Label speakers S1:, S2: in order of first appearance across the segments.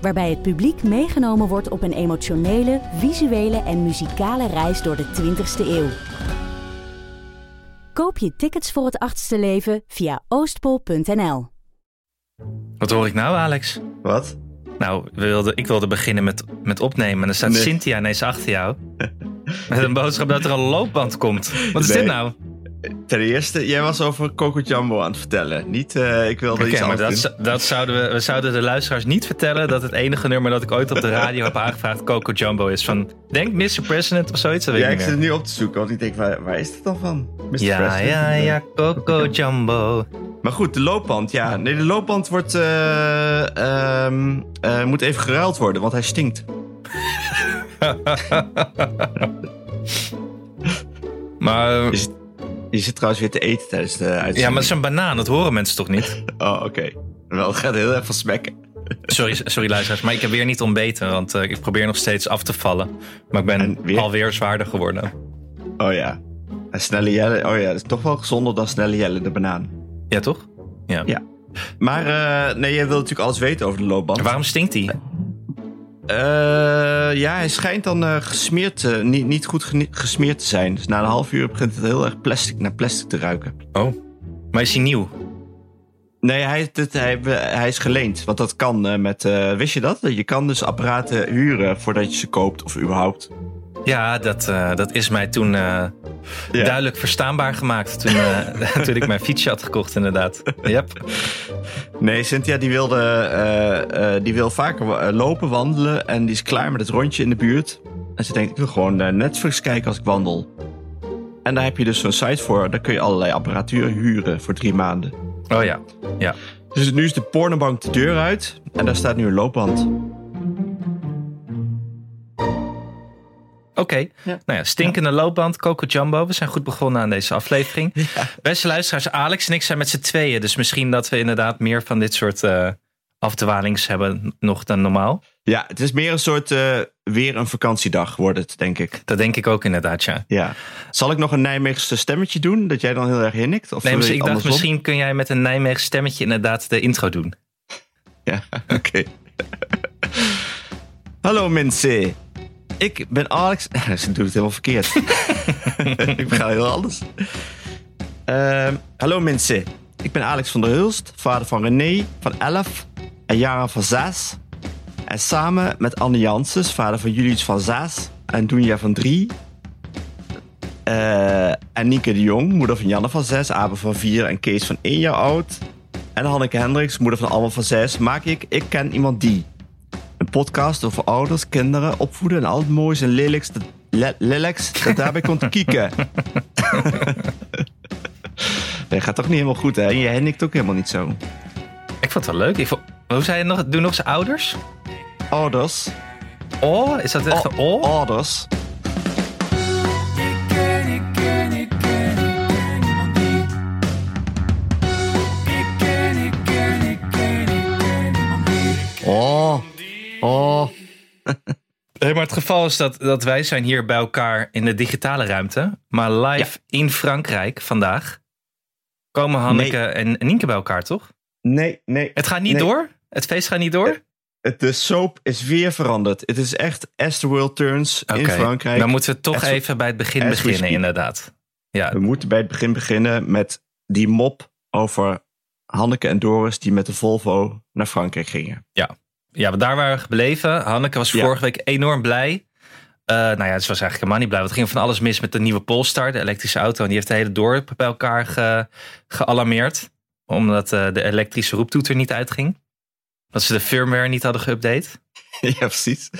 S1: Waarbij het publiek meegenomen wordt op een emotionele, visuele en muzikale reis door de 20ste eeuw. Koop je tickets voor het achtste leven via oostpol.nl.
S2: Wat hoor ik nou, Alex?
S3: Wat?
S2: Nou, we wilden, ik wilde beginnen met, met opnemen. En dan staat
S3: Nee.
S2: Cynthia ineens achter jou. Met een boodschap dat er een loopband komt. Wat is
S3: Nee.
S2: dit nou?
S3: Ten eerste, jij was over Coco Jumbo aan het vertellen. Niet, eh, ik wilde
S2: Oké,
S3: iets
S2: maar
S3: anders
S2: dat,
S3: doen.
S2: z- dat zouden we, we zouden de luisteraars niet vertellen dat het enige nummer dat ik ooit op de radio heb aangevraagd Coco Jumbo is. Van, denk Mr. President of zoiets, dat weet
S3: Ja,
S2: ik
S3: ik
S2: niet
S3: zit het
S2: meer.
S3: nu op te zoeken, want ik denk, waar, waar is dit dan van? Mr.
S2: Ja,
S3: President?
S2: ja,
S3: Eh,
S2: ja, Coco Jumbo.
S3: Maar goed, de loopband, ja. Nee, de loopband wordt, eh, ehm, eh, moet even geruild worden, want hij stinkt.
S2: Maar,
S3: Is- Je zit trouwens weer te eten tijdens de uitzending.
S2: ja, maar het is een banaan, dat horen mensen toch niet?
S3: Oh, oké. Wel, het gaat heel even smekken.
S2: Sorry, sorry luisteraars, maar ik heb weer niet ontbeten, want eh, ik probeer nog steeds af te vallen. Maar ik ben
S3: En weer?
S2: alweer zwaarder geworden.
S3: Oh ja. En snelle Jelle, oh ja, dat is toch wel gezonder dan snelle Jelle, de banaan.
S2: Ja, toch? Ja.
S3: Ja. Maar eh, nee, jij wil natuurlijk alles weten over de loopband.
S2: En waarom stinkt die?
S3: Eh, ja, hij schijnt dan eh, gesmeerd, eh, niet, niet goed geni- gesmeerd te zijn. Dus na een half uur begint het heel erg plastic, naar plastic te ruiken.
S2: Oh, maar is hij nieuw?
S3: Nee, hij, dit, hij, hij is geleend. Want dat kan eh, met. eh, wist je dat? Je kan dus apparaten huren voordat je ze koopt of überhaupt.
S2: Ja, dat, eh, dat is mij toen eh,
S3: Ja.
S2: duidelijk verstaanbaar gemaakt. Toen, eh, toen ik mijn fietsje had gekocht, inderdaad. Yep.
S3: Nee, Cynthia die wilde, eh, eh, die wil vaker wa- eh, lopen, wandelen. En die is klaar met het rondje in de buurt. En ze denkt, ik wil gewoon naar Netflix kijken als ik wandel. En daar heb je dus zo'n site voor. Daar kun je allerlei apparatuur huren voor drie maanden.
S2: Oh ja. ja.
S3: Dus nu is de pornobank de deur uit. En daar staat nu een loopband.
S2: Oké. Nou ja, stinkende loopband, Coco Jumbo. We zijn goed begonnen aan deze aflevering. Beste luisteraars, Alex en ik zijn met z'n tweeën. Dus misschien dat we inderdaad meer van dit soort eh afdwalings hebben nog dan normaal.
S3: Ja, het is meer een soort eh, weer een vakantiedag wordt het, denk ik.
S2: Dat denk ik ook inderdaad, ja.
S3: Ja. Zal ik nog een Nijmeegse stemmetje doen? Dat jij dan heel erg hinnikt?
S2: Nee,
S3: Of wil je
S2: misschien, ik dacht,
S3: andersom?
S2: misschien kun jij met een Nijmegen stemmetje inderdaad de intro doen.
S3: Ja, oké. Hallo mensen. Ik ben Alex. Ze doet het helemaal verkeerd. ik ga heel anders. Ehm, hallo mensen. Ik ben Alex van der Hulst, vader van René van 11 en Jara van 6. En samen met Anne Janssens, vader van Julius van 6 en Doenja van 3. Eh, en Nieke de Jong, moeder van Janne van 6, Abe van 4 en Kees van 1 jaar oud. En Hanneke Hendricks, moeder van Alma van 6, maak ik Ik Ken Iemand Die. Een podcast over ouders, kinderen, opvoeden en al het moois en lelijks dat, le- lelijks dat daarbij komt kieken. Nee, gaat toch niet helemaal goed, hè? En je hennikt ook helemaal niet zo.
S2: Ik vond het wel leuk. Ik vond- hoe zei je nog? Doe nog eens ouders?
S3: Ouders.
S2: Oh, is dat echt een oh?
S3: Ouders. Oh. Oh.
S2: Hey, maar het geval is dat, dat wij zijn hier bij elkaar in de digitale ruimte. Maar live in Frankrijk vandaag komen Hanneke en Nienke bij elkaar, toch?
S3: Nee, nee.
S2: Het gaat niet
S3: Nee.
S2: door? Het feest gaat niet door?
S3: Het- De soap is weer veranderd. Het is echt As the World Turns in
S2: Oké,
S3: Frankrijk.
S2: Dan moeten we toch
S3: As we-
S2: even bij het begin
S3: as we
S2: beginnen,
S3: speak.
S2: inderdaad. Ja,
S3: We moeten bij het begin beginnen met die mop over Hanneke en Doris die met de Volvo naar Frankrijk gingen.
S2: ja, want daar waren we gebleven. Hanneke was
S3: Ja.
S2: vorige week enorm blij. Eh, nou ja, ze was eigenlijk helemaal niet blij. Want er ging van alles mis met de nieuwe Polestar, de elektrische auto. En die heeft de hele dorp bij elkaar ge- gealarmeerd. Omdat eh, de elektrische roeptoeter niet uitging. Dat ze de firmware niet hadden geüpdate.
S3: ja, precies.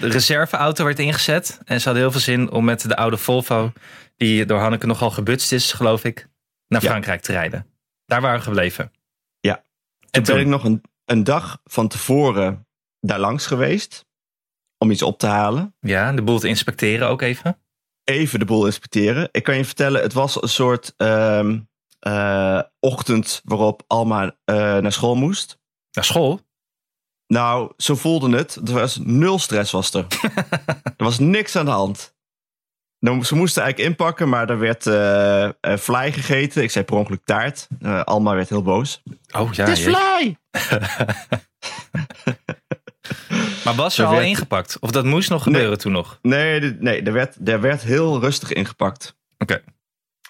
S2: De reserveauto werd ingezet. En ze hadden heel veel zin om met de oude Volvo, die door Hanneke nogal gebutst is, geloof ik, naar
S3: Ja.
S2: Frankrijk te rijden. Daar waren we gebleven.
S3: Ja.
S2: En
S3: Toen ben ik
S2: toen,
S3: nog een, een dag van tevoren daar langs geweest. om iets op te halen.
S2: Ja, de boel te inspecteren ook even.
S3: Even de boel inspecteren. Ik kan je vertellen, het was een soort ehm, eh, ochtend waarop Alma eh, naar school moest.
S2: Naar school?
S3: Nou, zo voelde het. Er was nul stress was er. er was niks aan de hand. Nou, Ze moesten eigenlijk inpakken, maar er werd eh eh, fly gegeten. Ik zei per ongeluk taart. Eh, Alma werd heel boos.
S2: Oh ja.
S3: het is
S2: jee.
S3: fly!
S2: Maar was ze
S3: Er
S2: al
S3: werd-
S2: ingepakt? Of dat moest nog gebeuren toen nog?
S3: Nee, dit- nee er, werd, er werd heel rustig ingepakt.
S2: Oké.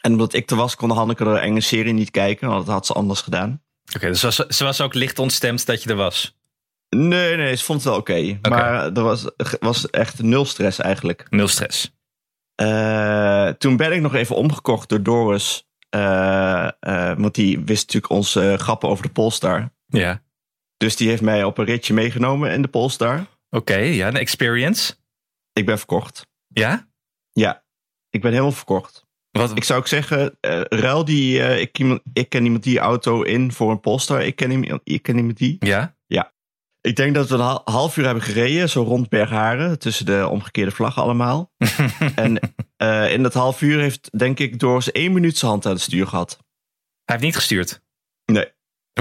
S3: En omdat ik er was, kon Hanneke de enge serie niet kijken. Want dat had ze anders gedaan.
S2: Oké, dus was, ze was ook licht ontstemd dat je er was.
S3: Nee, nee, ze vond het wel oké. Maar er was, was echt nul stress eigenlijk.
S2: Nul stress.
S3: Eh, toen ben ik nog even omgekocht door Doris. eh, eh, want die wist natuurlijk onze eh, grappen over de Polestar.
S2: Ja.
S3: Dus die heeft mij op een ritje meegenomen in de Polestar.
S2: Oké, ja, een experience.
S3: Ik ben verkocht.
S2: Ja?
S3: Ja, ik ben helemaal verkocht.
S2: Wat?
S3: Ik zou ook zeggen, eh, ruil die... eh, ik, kiem- ik ken iemand die auto in voor een Polestar. Ik ken, iemand- ik ken iemand die.
S2: Ja?
S3: Ik denk dat we een ha- half uur hebben gereden. Zo rond Bergharen. Tussen de omgekeerde vlaggen allemaal. en eh, in dat half uur heeft, denk ik, Doris één minuut zijn hand aan het stuur gehad.
S2: Hij heeft niet gestuurd.
S3: Nee.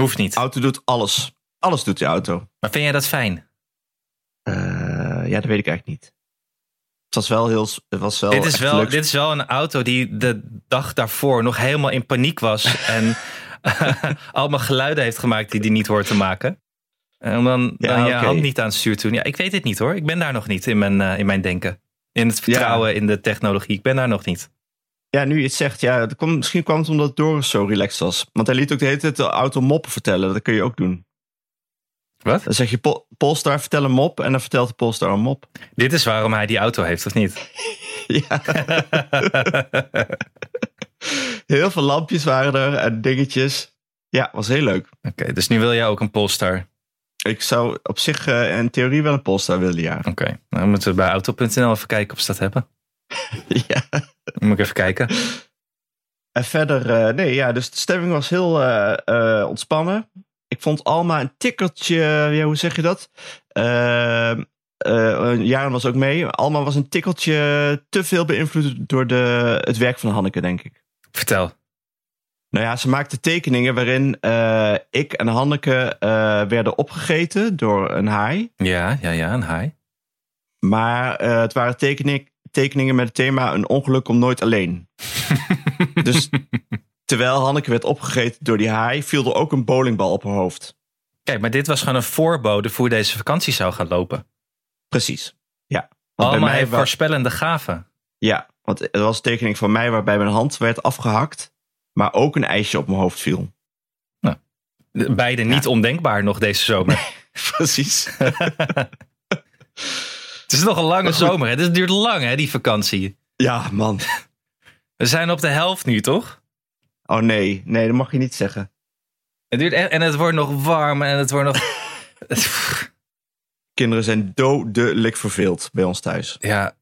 S2: Hoeft niet.
S3: auto doet alles. Alles doet die auto.
S2: Maar vind jij dat fijn?
S3: Eh, ja, dat weet ik eigenlijk niet. Het was wel heel. Het was wel
S2: dit, is
S3: echt
S2: wel,
S3: leuk.
S2: dit is wel een auto die de dag daarvoor nog helemaal in paniek was. en allemaal geluiden heeft gemaakt die hij niet hoort te maken. En om dan,
S3: Ja,
S2: dan je
S3: oké.
S2: hand niet aan het stuur toen. Ja, ik weet het niet hoor. Ik ben daar nog niet in mijn, eh, in mijn denken. In het vertrouwen in de technologie. Ik ben daar nog niet.
S3: Ja, nu je het zegt, ja, dat kwam, misschien kwam het omdat Doris zo relaxed was. Want hij liet ook de hele tijd de auto moppen vertellen. Dat kun je ook doen.
S2: Wat?
S3: Dan zeg je Pol- Polestar, vertel een mop. En dan vertelt de Polestar een mop.
S2: Dit is waarom hij die auto heeft, of niet?
S3: Ja, heel veel lampjes waren er en dingetjes. Ja, was heel leuk.
S2: Oké, dus nu wil jij ook een Polestar.
S3: Ik zou op zich eh, in theorie wel een Polestar willen, ja.
S2: Oké, dan moeten we bij auto.nl even kijken of ze dat hebben.
S3: ja.
S2: Dan moet ik even kijken.
S3: En verder, eh, nee, ja, dus de stemming was heel eh, eh, ontspannen. Ik vond Alma een tikkeltje, ja, hoe zeg je dat? Eh, eh, Jaren was ook mee. Alma was een tikkeltje te veel beïnvloed door de, het werk van Hanneke, denk ik.
S2: Vertel.
S3: Nou ja, ze maakte tekeningen waarin eh, ik en Hanneke eh, werden opgegeten door een haai.
S2: Ja, ja, ja, een haai.
S3: Maar eh, het waren tekening, tekeningen met het thema een ongeluk komt nooit alleen. dus terwijl Hanneke werd opgegeten door die haai, viel er ook een bowlingbal op haar hoofd.
S2: Kijk, maar dit was gewoon een voorbode voor hoe deze vakantie zou gaan lopen.
S3: Precies. Ja. Want bij
S2: Allemaal
S3: mij
S2: heeft
S3: wa-
S2: voorspellende gaven.
S3: ja, want er was een tekening van mij waarbij mijn hand werd afgehakt, maar ook een ijsje op mijn hoofd viel.
S2: De- Beide niet ondenkbaar nog deze zomer.
S3: Precies.
S2: Het is nog een lange zomer. Hè? Het duurt lang, hè, die vakantie.
S3: Ja, man.
S2: We zijn op de helft nu, toch?
S3: Oh nee, nee, dat mag je niet zeggen.
S2: Het duurt echt, en het wordt nog warm en het wordt nog...
S3: Kinderen zijn dodelijk verveeld bij ons thuis.
S2: ja,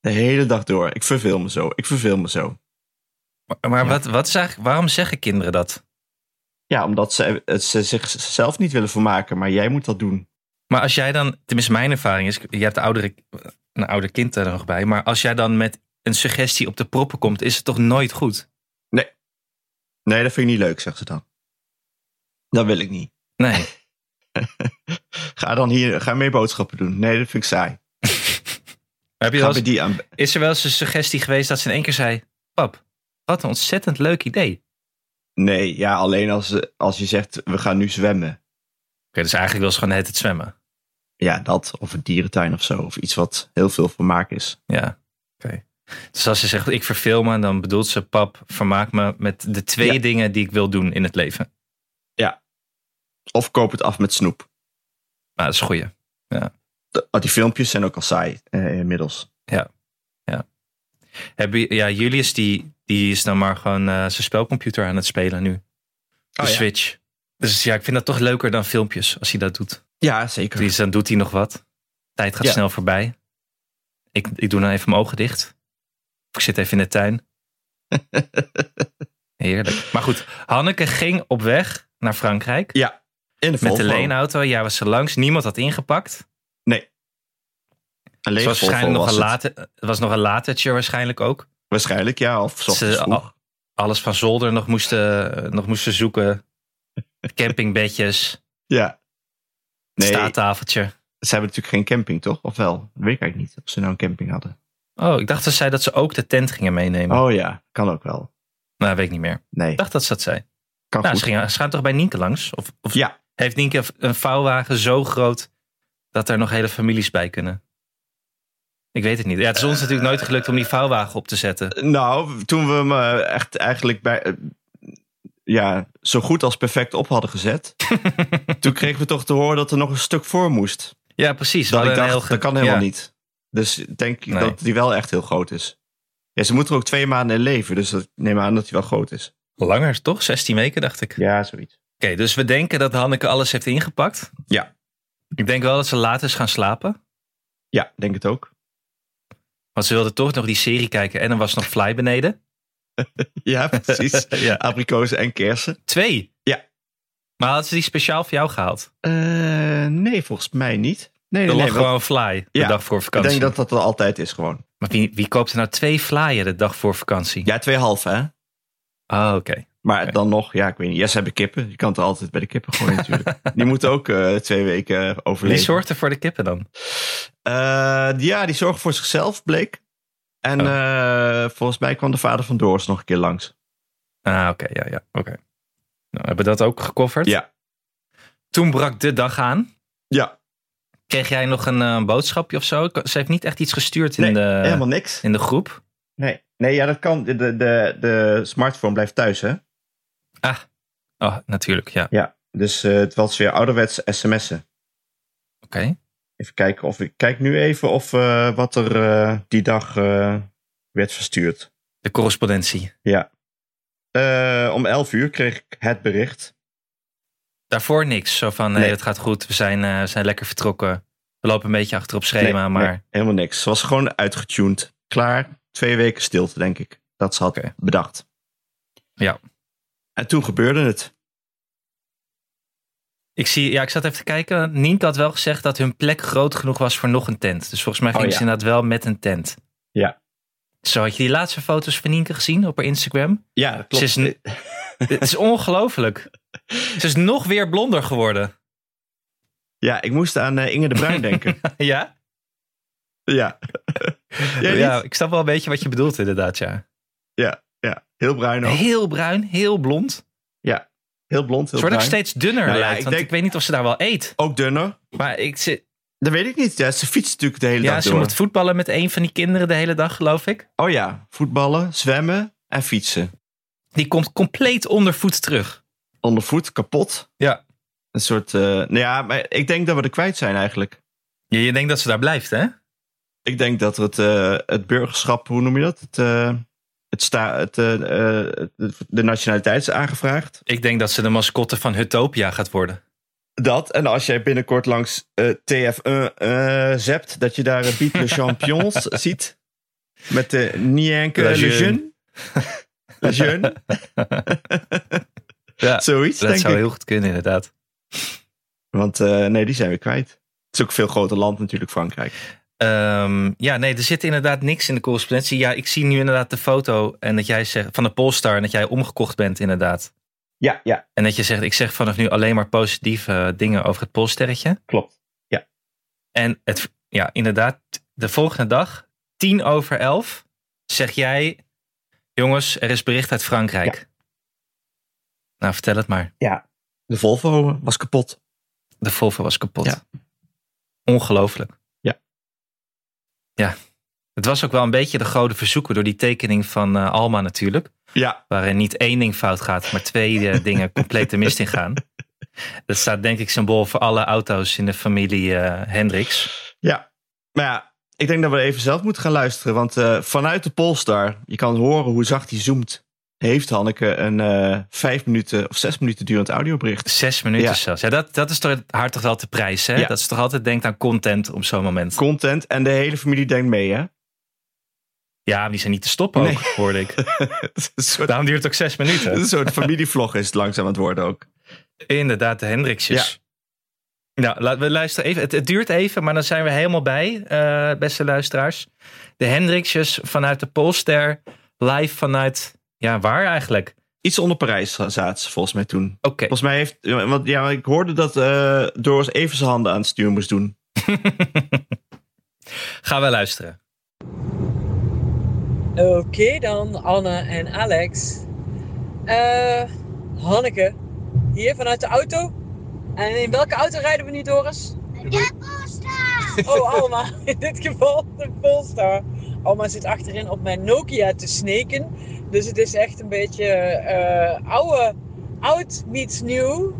S3: De hele dag door. Ik verveel me zo. Ik verveel me zo.
S2: maar- maar Wat, wat is eigenlijk, waarom zeggen kinderen dat?
S3: Ja, omdat ze, het- ze zichzelf niet willen vermaken, maar jij moet dat doen.
S2: Maar als jij dan, tenminste mijn ervaring is, je hebt de oudere, een ouder kind er nog bij, maar als jij dan met een suggestie op de proppen komt, is het toch nooit goed?
S3: Nee, dat vind ik niet leuk, zegt ze dan. Dat wil ik niet.
S2: Nee.
S3: Ga dan hier, ga meer boodschappen doen. Nee, dat vind ik saai.
S2: Heb je
S3: Ga
S2: wel
S3: bij
S2: eens-
S3: die aan.
S2: is er wel eens een suggestie geweest dat ze in één keer zei, pap, wat een ontzettend leuk idee. Oké,
S3: Nee, ja, alleen als, als je zegt, we gaan nu zwemmen.
S2: dus eigenlijk wil ze gewoon net het zwemmen.
S3: Ja, dat, of een dierentuin of zo. Of iets wat heel veel vermaak is.
S2: Ja, oké. Dus als ze zegt, ik verveel me, dan bedoelt ze, pap, vermaak me met de twee
S3: Ja.
S2: dingen die ik wil doen in het leven.
S3: Of koop het af met snoep.
S2: Nou, dat is een goeie.
S3: De- oh, die filmpjes zijn ook al saai eh, inmiddels.
S2: Heb je, ja, Julius, die, die is dan maar gewoon eh, zijn spelcomputer aan het spelen nu. De
S3: Oh, ja.
S2: Switch. Dus ja, ik vind dat toch leuker dan filmpjes, als hij dat doet.
S3: Ja, zeker.
S2: Dus dan doet hij nog wat. Tijd gaat
S3: Ja.
S2: snel voorbij. Ik, ik doe dan even mijn ogen dicht. Ik zit even in de tuin. Heerlijk. Maar goed, Hanneke ging op weg naar Frankrijk.
S3: In de
S2: Met de
S3: Volvo.
S2: leenauto, jij was er langs. Niemand had ingepakt.
S3: Nee. Een
S2: Het
S3: leeg
S2: was waarschijnlijk nog
S3: Volvo
S2: een,
S3: was het.
S2: late, het was nog een latertje waarschijnlijk ook.
S3: Waarschijnlijk, ja. Of s ochtends
S2: Ze oh.
S3: vroeg.
S2: al- alles van zolder nog moesten, nog moesten zoeken. Campingbedjes,
S3: Ja. Nee,
S2: staattafeltje.
S3: ze hebben natuurlijk geen camping, toch? Of wel? Dat weet ik eigenlijk niet. Of ze nou een camping hadden.
S2: Oh, ik dacht dat zij dat ze ook de tent gingen meenemen.
S3: Oh ja, kan ook wel.
S2: Nou, weet ik niet meer.
S3: Nee,
S2: Ik dacht dat ze dat zei.
S3: kan
S2: nou,
S3: goed.
S2: ze, gingen, ze gaan toch bij Nienke langs? Of, of
S3: Ja.
S2: heeft Nienke een vouwwagen zo groot dat er nog hele families bij kunnen? Ik weet het niet. Ja, het is ons natuurlijk nooit gelukt om die vouwwagen op te zetten.
S3: Nou, toen we hem eh, echt eigenlijk bij, eh, ja, zo goed als perfect op hadden gezet. toen kregen we toch te horen dat er nog een stuk voor moest.
S2: Ja, precies. We
S3: Dat ik
S2: hadden een
S3: dacht,
S2: heel
S3: dat
S2: ge-
S3: kan helemaal
S2: ja.
S3: niet. Dus denk ik
S2: Nee.
S3: dat die wel echt heel groot is. Ja, ze moeten er ook twee maanden in leven. Dus dat- ik neem aan dat hij wel groot is.
S2: Langer, toch? 16 weken, dacht ik.
S3: Ja, zoiets.
S2: Oké, dus we denken dat Hanneke alles heeft ingepakt.
S3: Ja.
S2: Ik denk wel dat ze laat is gaan slapen.
S3: Ja, denk het ook.
S2: Want ze wilde toch nog die serie kijken en er was nog Fly beneden.
S3: Ja, precies.
S2: Ja.
S3: Abrikozen en kersen.
S2: Twee.
S3: Ja.
S2: Maar had ze die speciaal voor jou gehaald?
S3: Eh, nee, volgens mij niet. Nee,
S2: Er
S3: nee,
S2: lag
S3: nee, want
S2: gewoon Fly de
S3: Ja,
S2: dag voor
S3: Ik
S2: vakantie.
S3: denk dat dat er altijd is gewoon.
S2: Maar wie, wie koopt er nou twee flyen de dag voor vakantie?
S3: Ja, twee half hè.
S2: Ah, oké.
S3: Maar
S2: Oké.
S3: dan nog, ja, ik weet niet. Ja, ze hebben kippen. Je kan het altijd bij de kippen gooien natuurlijk. Die moeten ook eh, twee weken
S2: Wie
S3: overleven.
S2: zorgt er voor de kippen dan?
S3: Eh, ja, die zorgen voor zichzelf, bleek. En
S2: Oh.
S3: eh, volgens mij kwam de vader van Doors nog een keer langs.
S2: Ah, oké. ja, ja. Oké. Nou, hebben we dat ook gecoverd?
S3: Ja.
S2: Toen brak de dag aan.
S3: Ja,
S2: Kreeg jij nog een eh, boodschapje of zo? Ze heeft niet echt iets gestuurd in,
S3: Nee,
S2: de,
S3: helemaal niks.
S2: in de groep.
S3: Nee, nee ja, dat kan. De, de, de, de smartphone blijft thuis, hè?
S2: Oh, natuurlijk, ja.
S3: Ja. Dus eh, het was weer ouderwets sms'en.
S2: Oké.
S3: Even kijken of ik kijk nu even of eh, wat er eh, die dag eh, werd verstuurd.
S2: De correspondentie.
S3: Eh, om 11 uur kreeg ik het bericht.
S2: Daarvoor niks. Zo van, hey,
S3: Nee.
S2: het gaat goed. We zijn, eh, we zijn lekker vertrokken. We lopen een beetje achter op schema,
S3: Nee,
S2: maar...
S3: nee, helemaal niks. Ze was gewoon uitgetuned. Klaar. Twee weken stilte, denk ik. Dat ze had
S2: Oké.
S3: bedacht.
S2: Ja.
S3: En toen gebeurde het.
S2: Ik zie, ja, ik zat even te kijken. Nienke had wel gezegd dat hun plek groot genoeg was voor nog een tent. Dus volgens mij
S3: Oh,
S2: ging
S3: ja.
S2: ze inderdaad wel met een tent.
S3: Ja.
S2: Zo, had je die laatste foto's van Nienke gezien op haar Instagram?
S3: Ja, dat
S2: Ze is een- Het is ongelooflijk. Ze is nog weer blonder geworden.
S3: Ja, ik moest aan eh, Inge de Bruin denken.
S2: ja?
S3: ja. ja,
S2: Ja,
S3: ja.
S2: ik snap wel een beetje wat je bedoelt inderdaad, ja.
S3: ja, heel bruin ook.
S2: Heel bruin, heel blond.
S3: Heel blond,
S2: Ze
S3: heel
S2: wordt ook
S3: bruin.
S2: steeds dunner
S3: Nou ja,
S2: lijkt,
S3: ik
S2: want
S3: denk-
S2: ik weet niet of ze daar wel eet.
S3: Ook dunner.
S2: Maar ik zit...
S3: Dat weet ik niet. Ja, ze fietst natuurlijk de hele
S2: Ja,
S3: dag
S2: ze
S3: door.
S2: moet voetballen met een van die kinderen de hele dag, geloof ik.
S3: Oh ja, voetballen, zwemmen en fietsen.
S2: Die komt compleet ondervoet terug.
S3: Ondervoet, kapot.
S2: Ja.
S3: Een soort... eh, nou ja, maar ik denk dat we er kwijt zijn eigenlijk.
S2: Je, je denkt dat ze daar blijft, hè?
S3: Ik denk dat het, eh, het burgerschap, hoe noem je dat? Het, eh, het sta, het, eh, eh, de nationaliteit is aangevraagd.
S2: Ik denk dat ze de mascotte van Utopia gaat worden.
S3: Dat, en als jij binnenkort langs eh, TF1 eh, zept, dat je daar een Beat de Champions ziet. Met de Nienke
S2: La
S3: Le
S2: Jeune.
S3: Jeune. La Jeune,
S2: Ja,
S3: zoiets
S2: dat
S3: denk
S2: zou
S3: ik.
S2: heel goed kunnen, inderdaad.
S3: Want eh, nee, die zijn we kwijt. Het is ook een veel groter land natuurlijk, Frankrijk.
S2: Ehm, ja, nee, er zit inderdaad niks in de correspondentie. Ja, ik zie nu inderdaad de foto en dat jij zegt, van de Polestar en dat jij omgekocht bent, inderdaad.
S3: Ja, ja,
S2: En dat je zegt, ik zeg vanaf nu alleen maar positieve eh, dingen over het Polsterretje.
S3: klopt.
S2: En het, ja, inderdaad, de volgende dag, tien over elf, zeg jij, jongens, er is bericht uit Frankrijk. Nou, vertel het maar.
S3: De Volvo was kapot.
S2: De Volvo was kapot.
S3: Ja.
S2: Ongelooflijk.
S3: Ja.
S2: Ja. Het was ook wel een beetje de grote verzoeken door die tekening van eh, Alma natuurlijk.
S3: Ja,
S2: Waarin niet één ding fout gaat, maar twee eh, dingen compleet de mist in gaan. Dat staat denk ik symbool voor alle auto's in de familie eh, Hendricks.
S3: ja. Maar ja, ik denk dat we even zelf moeten gaan luisteren. Want eh, vanuit de Polestar, je kan horen hoe zacht hij zoomt. Heeft Hanneke een eh, vijf minuten of zes minuten durend audiobericht.
S2: Zes minuten
S3: Ja.
S2: zelfs. Ja, dat, dat is toch, haar toch wel te prijs, hè?
S3: Ja.
S2: Dat ze toch altijd denkt aan content op zo'n moment.
S3: Content en de hele familie denkt mee, hè?
S2: Ja, maar die zijn niet te stoppen ook,
S3: Nee.
S2: hoorde ik.
S3: Het is een soort,
S2: Daarom duurt het ook zes
S3: het is
S2: minuten.
S3: een soort familievlog is het langzaam aan het worden ook.
S2: Inderdaad, de Hendricksjes. Nou, laten we luisteren even. Het, het duurt even, maar dan zijn we helemaal bij, eh, beste luisteraars. De Hendrixjes vanuit de Polster, live vanuit, ja, waar eigenlijk?
S3: Iets onder Parijs zaten ze volgens mij toen.
S2: Oké,
S3: Volgens mij heeft... Want ja, ik hoorde dat eh Doris even zijn handen aan het stuur moest doen.
S2: gaan we luisteren.
S4: Oké dan, Anne en Alex. Eh Hanneke, hier vanuit de auto. En in welke auto rijden we nu, Doris? De Polestar! Oh, Alma, in dit geval de Polestar. Alma zit achterin op mijn Nokia te sneken. Dus het is echt een beetje eh oude, oud meets nieuw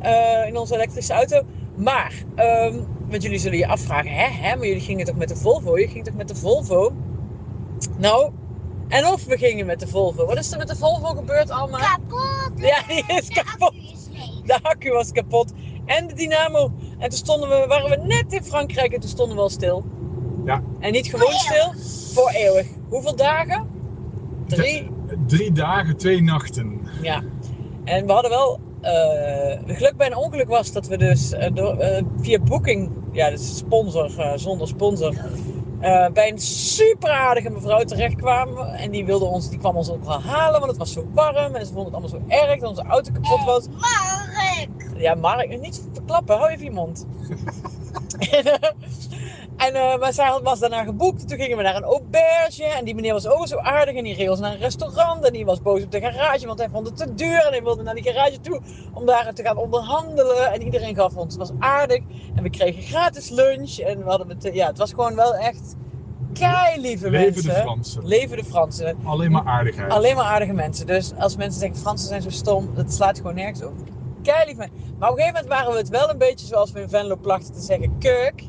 S4: eh, in onze elektrische auto. Maar, ehm, want jullie zullen je afvragen, hè, hè, maar jullie gingen toch met de Volvo? Je ging toch met de Volvo? Nou, en of we gingen met de Volvo. Wat is er met de Volvo gebeurd allemaal?
S5: Kapot!
S4: Ja, die is kapot.
S5: accu is leeg.
S4: De accu was kapot en de dynamo. En toen stonden we, waren we net in Frankrijk en toen stonden we al stil.
S6: Ja.
S4: En niet gewoon stil,
S5: Voor
S4: voor eeuwig. Hoeveel dagen? Drie.
S6: Drie dagen, twee nachten.
S4: Ja. En we hadden wel eh, geluk bij een ongeluk was dat we dus eh, door, eh, via Booking, ja, dat is sponsor eh, zonder sponsor, eh, bij een super aardige mevrouw terechtkwamen. En die wilde ons, die kwam ons ook wel halen, want het was zo warm en ze vonden het allemaal zo erg dat onze auto kapot was.
S5: Mark!
S4: Ja, Mark, niet verklappen, hou even je mond. en eh, en, eh, maar zij had- was daarna geboekt. Toen gingen we naar een auberge. En die meneer was ook zo aardig. En die reed ons naar een restaurant. En die was boos op de garage, want hij vond het te duur. En hij wilde naar die garage toe om daar te gaan onderhandelen. En iedereen gaf ons, het was aardig. En we kregen gratis lunch. En we hadden het, eh, ja, het was gewoon wel echt kei lieve
S6: Leven de
S4: mensen.
S6: Fransen.
S4: Leven de Fransen.
S6: Alleen maar aardigheid.
S4: Alleen maar aardige mensen. Dus als mensen zeggen Fransen zijn zo stom, dat slaat gewoon nergens op. Kei lief me. Maar op een gegeven moment waren we het wel een beetje zoals we in Venlo plachten te zeggen, keuk.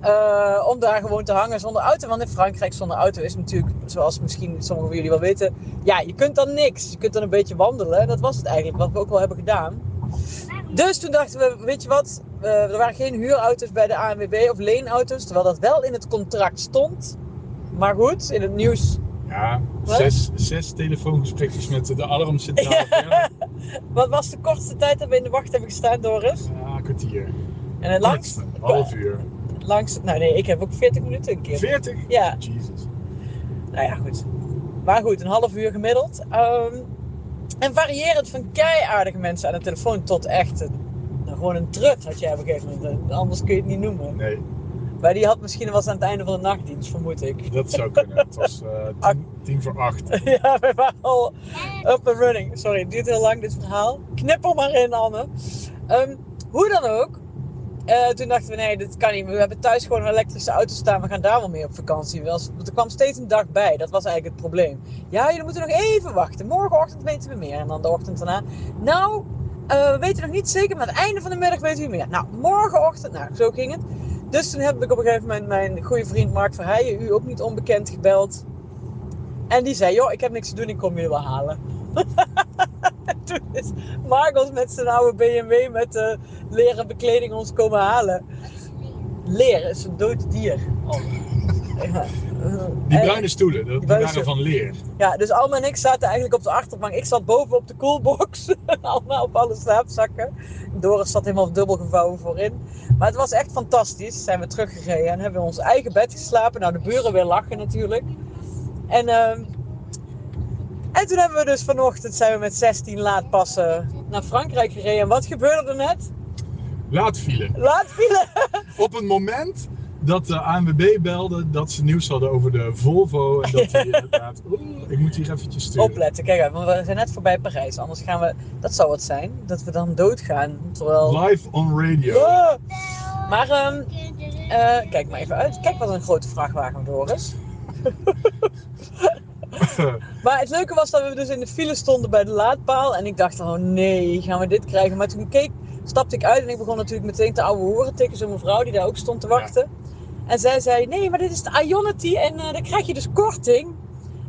S4: Eh, om daar gewoon te hangen zonder auto. Want in Frankrijk zonder auto is natuurlijk, zoals misschien sommigen van jullie wel weten, ja, je kunt dan niks. Je kunt dan een beetje wandelen. Dat was het eigenlijk, wat we ook wel hebben gedaan. Dus toen dachten we, weet je wat, eh, er waren geen huurauto's bij de ANWB of leenauto's. Terwijl dat wel in het contract stond. Maar goed, in het nieuws
S6: Ja,
S4: Wat?
S6: zes, zes telefoongesprekjes met de alarmcentrale. Ja.
S4: Wat was de kortste tijd dat we in de wacht hebben gestaan, Doris?
S6: een kwartier.
S4: En het langst,
S6: Een half uur.
S4: langst... Nou nee, ik heb ook 40 minuten een keer.
S6: Veertig?
S4: Ja,
S6: Jezus.
S4: nou ja, goed. Maar goed, een half uur gemiddeld. Ehm, en variërend van keiaardige mensen aan de telefoon tot echt een, nou, gewoon een trut had jij op een gegeven moment. Anders kun je het niet noemen.
S6: Nee,
S4: Maar die had misschien was aan het einde van de nachtdienst, vermoed ik.
S6: dat zou kunnen. Het was eh, tien, tien voor acht.
S4: ja, we waren al up and running. Sorry, het duurt heel lang dit verhaal. Knippel maar in, Anne. Ehm, hoe dan ook. eh, toen dachten we, nee, dit kan niet. We hebben thuis gewoon een elektrische auto staan. We gaan daar wel mee op vakantie. Wel, Want er kwam steeds een dag bij. Dat was eigenlijk het probleem. Ja, jullie moeten nog even wachten. Morgenochtend weten we meer. En dan de ochtend daarna. Nou, eh, we weten nog niet zeker, maar aan het einde van de middag weten we meer. Nou, morgenochtend. Nou, zo ging het. Dus toen heb ik op een gegeven moment mijn goede vriend Mark Verheijen, u ook niet onbekend, gebeld. En die zei, joh, ik heb niks te doen, ik kom jullie wel halen. En Toen is Marcos met zijn oude BMW met eh, leren bekleding ons komen halen. Leer is een dood dier. Oh. Ja.
S6: Die
S4: En-
S6: bruine stoelen, dat, die
S4: Eh, bruine
S6: waren van leer.
S4: ja, dus Alma en ik zaten eigenlijk op de achterbank. Ik zat boven op de koelbox. Alma op alle slaapzakken. Doris zat helemaal dubbel gevouwen voorin. Maar het was echt fantastisch. Zijn we teruggereden en hebben we in ons eigen bed geslapen. Nou, de buren weer lachen natuurlijk. En, ehm, en toen hebben we dus vanochtend zijn we met 16 laadpassen naar Frankrijk gereden. En wat gebeurde er net?
S6: Laat vielen.
S4: Laat vielen!
S6: Op het moment dat de ANWB belde dat ze nieuws hadden over de Volvo. En dat die inderdaad... Oeh, ik moet hier eventjes sturen.
S4: Opletten, kijk uit, want we zijn net voorbij Parijs. Anders gaan we, dat zou het zijn, dat we dan doodgaan. Terwijl...
S6: Live on radio.
S4: Ah! Maar ehm, Eh, kijk maar even uit. Kijk wat een grote vrachtwagen, Doris. Maar het leuke was dat we dus in de file stonden bij de laadpaal. En ik dacht, oh nee, gaan we dit krijgen? Maar toen keek, stapte ik uit en ik begon natuurlijk meteen te ouwe horen tegen zo'n mevrouw die daar ook stond te wachten. En zij zei, nee, maar dit is de Ionity en eh dan krijg je dus korting.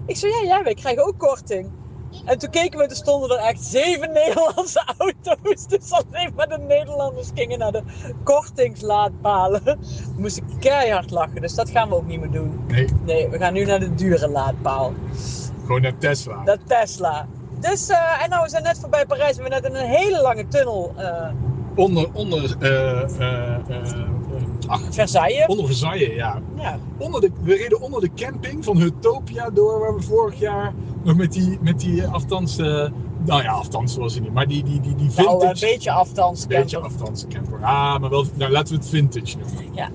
S4: Ik zei, ja, ja, wij krijgen ook korting. En toen keken we, er stonden er echt zeven Nederlandse auto's. Dus alleen maar de Nederlanders gingen naar de kortingslaadpalen. Moest ik keihard lachen, dus dat gaan we ook niet meer doen.
S6: Nee,
S4: Nee, we gaan nu naar de dure laadpaal.
S6: gewoon naar Tesla.
S4: Dat Tesla. Dus, eh, en nou, we zijn net voorbij Parijs. We hebben net in een hele lange tunnel eh,
S6: onder, onder, eh, eh, eh, ach,
S4: Versailles. Nou,
S6: onder Versailles, ja.
S4: Ja.
S6: Onder de, we reden onder de camping van Hutopia door, waar we vorig jaar nog met die, met die eh, aftans, eh, nou ja, aftans was hij niet, maar die, die, die, die vintage...
S4: Nou, een beetje aftans.
S6: Beetje aftans camper. Ah, maar wel, nou, laten we het vintage noemen.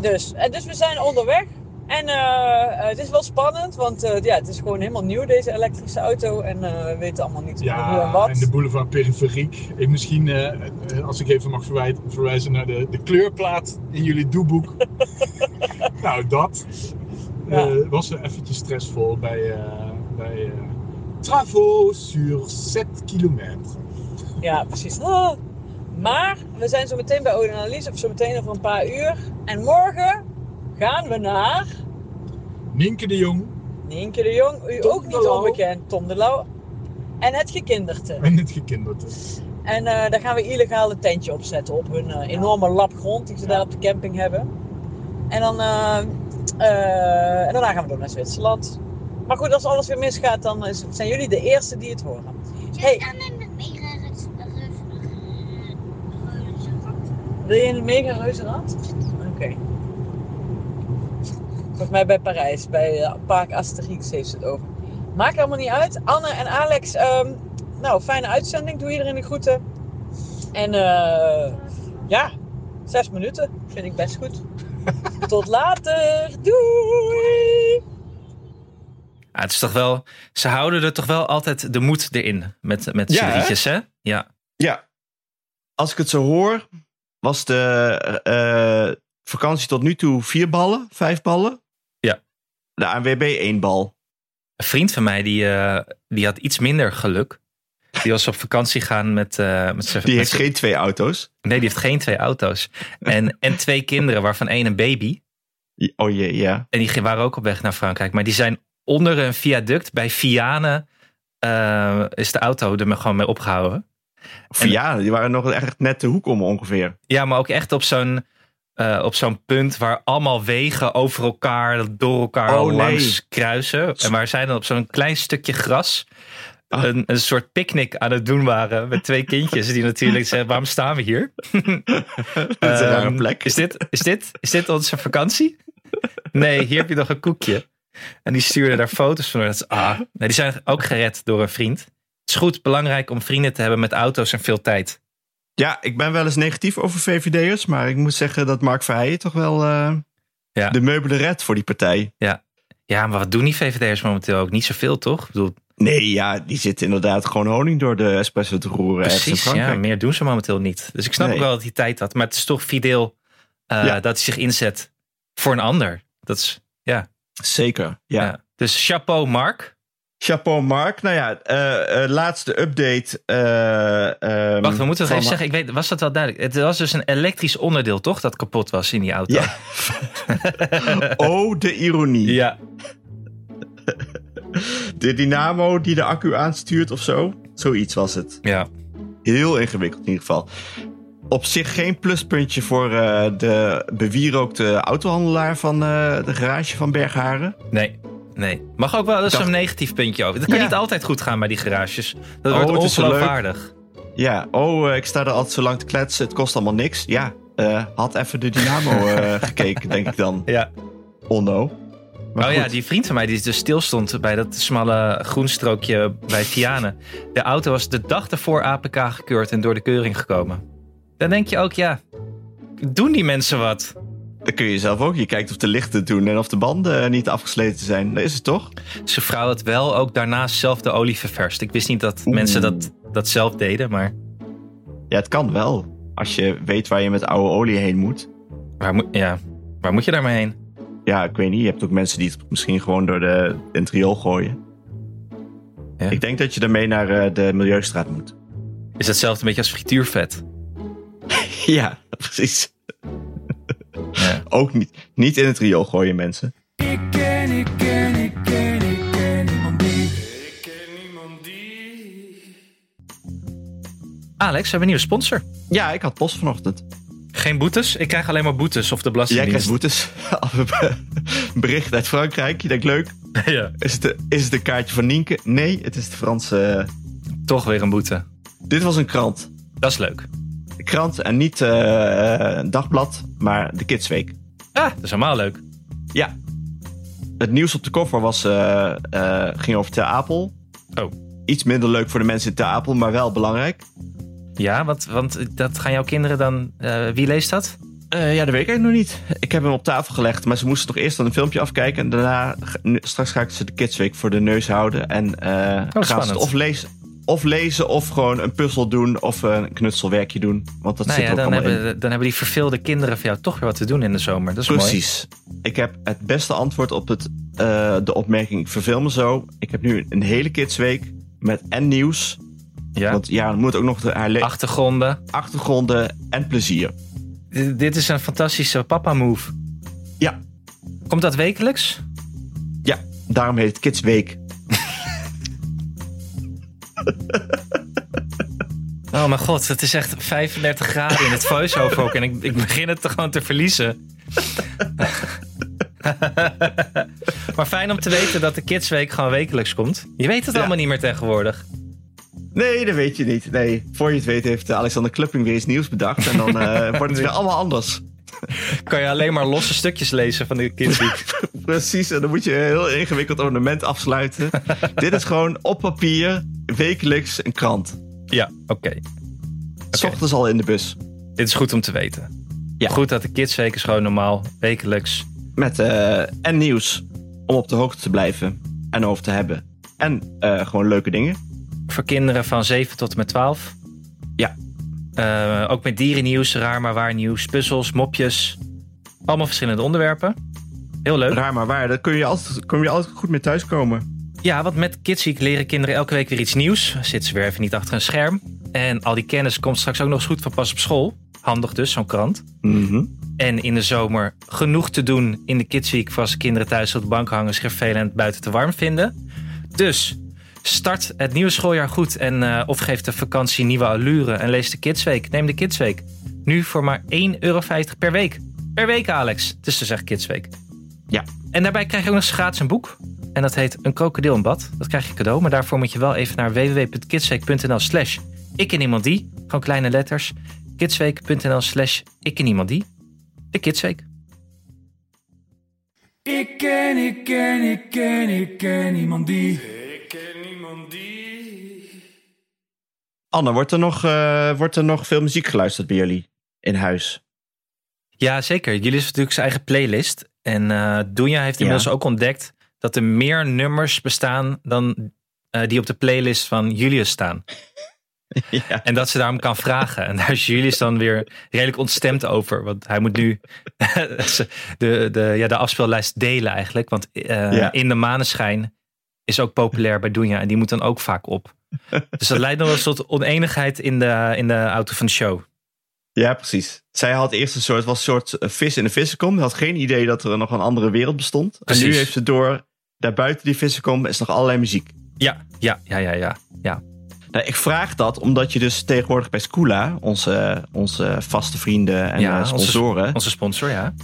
S4: Dus, en dus we zijn onderweg. En eh, eh, het is wel spannend, want eh, ja, het is gewoon helemaal nieuw, deze elektrische auto. En eh, we weten allemaal niet hoe en
S6: Ja,
S4: wat.
S6: en de boulevard periferiek. Ik misschien, eh, eh, als ik even mag verwij- verwijzen naar de, de kleurplaat in jullie doeboek. nou, dat eh, was wel eventjes stressvol bij, eh bij eh, Travaux sur 7 kilometer.
S4: Ja, precies. Ah. Maar we zijn zo meteen bij Odenalies, of zo meteen over een paar uur. En morgen gaan we naar
S6: Nienke de Jong
S4: Nienke de Jong, u
S6: Tom
S4: ook
S6: de
S4: niet
S6: Lauw.
S4: onbekend, Tom de Lauw. En het gekinderte.
S6: en het gekinderte.
S4: En eh, daar gaan we illegaal een tentje opzetten op hun eh, enorme lap grond die ze daar op de camping hebben. En dan eh, eh, en daarna gaan we door naar Zwitserland. Maar goed, als alles weer misgaat, dan is- zijn jullie de eerste die het horen. Hey.
S5: Zit aan een mega rus- rus- rus- rus-
S4: Wil je een mega reuzenrad? Oké. Volgens mij bij Parijs, bij eh, Park Asterix heeft ze het over. Maakt allemaal niet uit. Anne en Alex, ehm, nou, fijne uitzending. Doe iedereen de groeten. En eh, ja, zes minuten vind ik best goed. Tot later. Doei!
S2: Ja, Ah, het is toch wel, ze houden er toch wel altijd de moed erin met, met
S3: Ja,
S2: z'n
S3: hè?
S2: drietjes, hè? Ja.
S3: Ja. Als ik het zo hoor, was de eh, vakantie tot nu toe vier ballen, vijf ballen.
S2: Ja.
S3: De ANWB één bal.
S2: Een vriend van mij, die, eh, die had iets minder geluk. Die was op vakantie gaan met, eh met zijn...
S3: Die
S2: met
S3: heeft
S2: zijn-
S3: geen twee auto's.
S2: Nee, die heeft geen twee auto's. En, en twee kinderen, waarvan één een baby.
S3: Oh jee, ja.
S2: En die gingen- waren ook op weg naar Frankrijk. Maar die zijn onder een viaduct bij Vianen... eh, is de auto er maar gewoon mee opgehouden.
S3: Of ja, die waren nog echt net de hoek om ongeveer.
S2: Ja, maar ook echt op zo'n... eh, op zo'n punt waar allemaal wegen over elkaar, door elkaar
S3: Oh, nee.
S2: langs kruisen. En waar zij dan op zo'n klein stukje gras
S3: Ah.
S2: een, een soort picknick aan het doen waren. Met twee kindjes die natuurlijk zeiden, waarom staan we hier?
S3: Dat is een rare
S2: Ehm,
S3: plek.
S2: Is dit, is, dit, is dit onze vakantie? Nee, hier heb je nog een koekje. En die stuurde daar foto's van. Dat is, ah, nee, die zijn ook gered door een vriend. Het is goed, belangrijk om vrienden te hebben met auto's en veel tijd.
S3: Ja, ik ben wel eens negatief over VVD'ers, maar ik moet zeggen dat Mark Verheijen toch wel eh,
S2: Ja.
S3: de meubelen redt voor die partij.
S2: Ja, maar wat doen die VVD'ers momenteel ook? Niet zoveel, toch? Ik bedoel,
S3: Nee, ja, die zit inderdaad gewoon honing door de espresso te roeren. ergens in
S2: precies, ja,
S3: Frankrijk.
S2: meer doen ze momenteel niet. Dus ik snap
S3: Nee.
S2: ook wel dat hij tijd had. Maar het is toch fideel eh,
S3: Ja.
S2: dat hij zich inzet voor een ander. Dat is,
S3: Zeker, ja.
S2: ja. Dus chapeau, Mark.
S3: Chapeau Mark. Nou ja, eh, eh, laatste update. eh, ehm,
S2: Wacht, we moeten nog
S3: van-
S2: even zeggen. Ik weet, was dat wel duidelijk? Het was dus een elektrisch onderdeel, toch? Dat kapot was in die auto.
S3: Ja. oh, de ironie.
S2: Ja,
S3: De dynamo die de accu aanstuurt of zo. Zoiets was het.
S2: ja.
S3: Heel ingewikkeld in ieder geval. Op zich geen pluspuntje voor eh, de bewierookte autohandelaar van eh, de garage van Bergharen.
S2: Nee, nee. Mag ook wel eens
S3: Dacht-
S2: een negatief puntje over. Dat kan
S3: Ja.
S2: niet altijd goed gaan bij die garages. Dat
S3: Oh,
S2: wordt
S3: het is zo
S2: ongeloofwaardig.
S3: Ja, oh, eh, ik sta er altijd zo lang te kletsen. Het kost allemaal niks. Ja, eh, had even de dynamo eh, gekeken, denk ik dan.
S2: Ja.
S3: Onno. Maar
S2: oh ja,
S3: goed.
S2: die vriend van mij die dus stil stond bij dat smalle groenstrookje bij Vianen. De auto was de dag ervoor APK gekeurd en door de keuring gekomen. Dan denk je ook, ja, doen die mensen wat?
S3: Dan kun je zelf ook. Je kijkt of de lichten doen en of de banden eh, niet afgesleten zijn. Dat is het toch?
S2: Zijn vrouw had wel ook daarna zelf de olie ververst. Ik wist niet dat
S3: Oeh.
S2: mensen dat, dat zelf deden, maar
S3: Ja, het kan wel. Als je weet waar je met oude olie heen moet.
S2: waar, moet- ja, waar moet je daarmee heen?
S3: Ja, ik weet niet. Je hebt ook mensen die het misschien gewoon door de, in het riool gooien.
S2: Ja.
S3: Ik denk dat je daarmee naar eh, de Milieustraat moet.
S2: Is hetzelfde een beetje als frituurvet?
S3: Ja, precies.
S2: Ja.
S3: Ook niet, niet in het riool gooien, mensen.
S2: Alex, we hebben een nieuwe sponsor.
S3: Ja, ik had post vanochtend.
S2: Geen boetes? Ik krijg alleen maar boetes of de
S3: Jij
S2: belastingdienst.
S3: krijgt boetes. Bericht uit Frankrijk. Je denkt, leuk.
S2: ja.
S3: Is het, de- is het een kaartje van Nienke? Nee, het is de Franse... eh,
S2: Toch weer een boete.
S3: Dit was een krant.
S2: Dat is leuk.
S3: de krant en niet eh, eh, dagblad, maar de Kids Week.
S2: Ah, dat is helemaal leuk.
S3: Ja. Het nieuws op de koffer was, eh, eh, ging over Ter Apel.
S2: Oh.
S3: Iets minder leuk voor de mensen in Ter Apel, maar wel belangrijk.
S2: Ja, want, want dat gaan jouw kinderen dan... eh, wie leest dat?
S3: Eh, ja, dat weet ik eigenlijk nog niet. Ik heb hem op tafel gelegd, maar ze moesten toch eerst dan een filmpje afkijken. En daarna, ga- nu- straks ga ik ze de Kids Week voor de neus houden. En eh, gaan ze het
S2: spannend.
S3: of lezen, of lezen of gewoon een puzzel doen of een knutselwerkje doen. Want dat
S2: Nou
S3: zit
S2: ja,
S3: er ook
S2: dan
S3: allemaal in.
S2: hebben, dan hebben die verveelde kinderen van jou toch weer wat te doen in de zomer. Dat is mooi.
S3: Precies. Ik heb het beste antwoord op het, eh, de opmerking: ik verveel me zo. Ik heb nu een hele kidsweek met en nieuws.
S2: Ja.
S3: Want ja, dan moet ook nog de, haar le-
S2: Achtergronden.
S3: achtergronden en plezier.
S2: D- dit is een fantastische papa-move.
S3: Ja.
S2: Komt dat wekelijks?
S3: Ja, daarom heet het Kidsweek.
S2: Oh mijn god, het is echt 35 graden in het voice-over ook. En ik, ik begin het te gewoon te verliezen. maar fijn om te weten dat de Kidsweek gewoon wekelijks komt. Je weet het
S3: Ja.
S2: allemaal niet meer tegenwoordig.
S3: Nee, dat weet je niet. Nee, voor je het weet heeft eh, Alexander Klupping weer iets nieuws bedacht. En dan eh, wordt het weer allemaal anders.
S2: Kan je alleen maar losse stukjes lezen van de Kidsweek.
S3: Precies, en dan moet je een heel ingewikkeld ornament afsluiten. Dit is gewoon op papier, wekelijks, een krant.
S2: Ja, oké.
S3: S Ochtends al in de bus.
S2: Dit is goed om te weten.
S3: Ja.
S2: Goed dat de Kidsweek is gewoon normaal, wekelijks.
S3: Met eh, en nieuws om op de hoogte te blijven en over te hebben. En eh, gewoon leuke dingen.
S2: Voor kinderen van 7 tot en met 12.
S3: Ja.
S2: Eh, ook met dierennieuws, raar maar waar nieuws, puzzels, mopjes. Allemaal verschillende onderwerpen. Heel leuk.
S3: Raar maar waar, daar kun je altijd, kun je altijd goed mee thuiskomen.
S2: Ja, want met Kids Week leren kinderen elke week weer iets nieuws. Zitten ze weer even niet achter een scherm. En al die kennis komt straks ook nog eens goed van pas op school. Handig dus, zo'n krant.
S3: Mhm.
S2: En in de zomer genoeg te doen in de Kids Week... voor als de kinderen thuis op de bank hangen, zich vervelen en het buiten te warm vinden. Dus start het nieuwe schooljaar goed en eh, of geef de vakantie nieuwe allure... en lees de Kids Week. Neem de Kids Week. Nu voor maar 1,50 euro per week. Per week, Alex. Het is dus echt Kids Week.
S3: Ja.
S2: En daarbij krijg je ook nog eens gratis een boek. En dat heet Een krokodil in bad. Dat krijg je cadeau. Maar daarvoor moet je wel even naar www.kidsweek.nl slash ik en iemand die. Gewoon kleine letters. kidsweek.nl slash ik en iemand die. De Kidsweek.
S7: Ik ken, ik ken, ik ken, ik ken iemand die.
S3: Anne, wordt er, nog, eh, wordt er nog veel muziek geluisterd bij jullie in huis?
S2: Ja, zeker. Jullie is natuurlijk zijn eigen playlist. En eh Doenja heeft inmiddels ook ontdekt dat er meer nummers bestaan dan eh, die op de playlist van Julius staan.
S3: Ja.
S2: En dat ze daarom kan vragen. En daar is Julius dan weer redelijk ontstemd over. Want hij moet nu de, de, ja, de afspeellijst delen eigenlijk. Want eh,
S3: Ja.
S2: In de Maneschijn is ook populair bij Doenja. En die moet dan ook vaak op. Dus dat leidt nog wel eens tot oneenigheid in de, in de auto van de show.
S3: Ja, precies. Zij had eerst een soort, was een soort eh, vis in een vissenkom. Ze had geen idee dat er nog een andere wereld bestond. En nu
S2: Precies.
S3: heeft ze door, daar buiten die vissenkom is nog allerlei muziek.
S2: Ja, ja, ja, ja, ja. ja.
S3: Nou, ik vraag dat omdat je dus tegenwoordig bij Skoola, onze, onze vaste vrienden en
S2: Ja,
S3: eh, sponsoren,
S2: Onze sponsor, ja.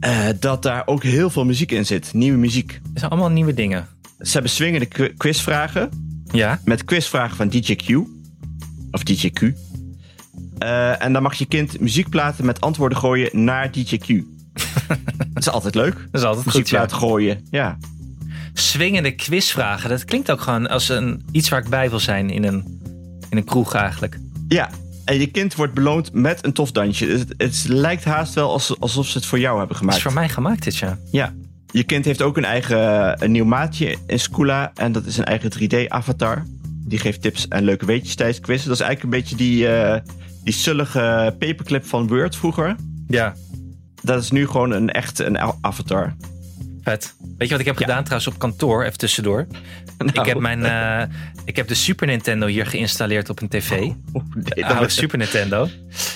S3: eh, dat daar ook heel veel muziek in zit. Nieuwe muziek.
S2: Het zijn allemaal nieuwe dingen.
S3: Ze hebben swingende qu- quizvragen
S2: Ja,
S3: met quizvragen van DJ Q. Of DJ Q. Eh, en dan mag je kind muziekplaten met antwoorden gooien naar DJ Q. dat is altijd leuk.
S2: dat is altijd goed. Ja.
S3: Muziekplaat gooien, ja.
S2: Swingende quizvragen. Dat klinkt ook gewoon als een, iets waar ik bij wil zijn in een, in een kroeg eigenlijk.
S3: Ja, en je kind wordt beloond met een tof dansje. Het, het lijkt haast wel als- alsof ze het voor jou hebben
S2: Het
S3: gemaakt.
S2: is voor mij gemaakt dit, ja.
S3: Ja. Je kind heeft ook een eigen eh, een nieuw maatje in Skoola. En dat is een eigen 3D-avatar. Die geeft tips en leuke weetjes tijdens quizzen. Dat is eigenlijk een beetje die, eh die zullige paperclip van Word vroeger.
S2: Ja,
S3: Dat is nu gewoon een echt een a- avatar.
S2: vet. Weet je wat ik heb gedaan trouwens op kantoor, even tussendoor?
S3: Oh.
S2: Ik,
S3: Nou,
S2: heb mijn, eh, ik heb de Super Nintendo hier geïnstalleerd op een tv.
S3: Oeh, nee,
S2: De
S3: dan,
S2: oude Ah, Super Nintendo.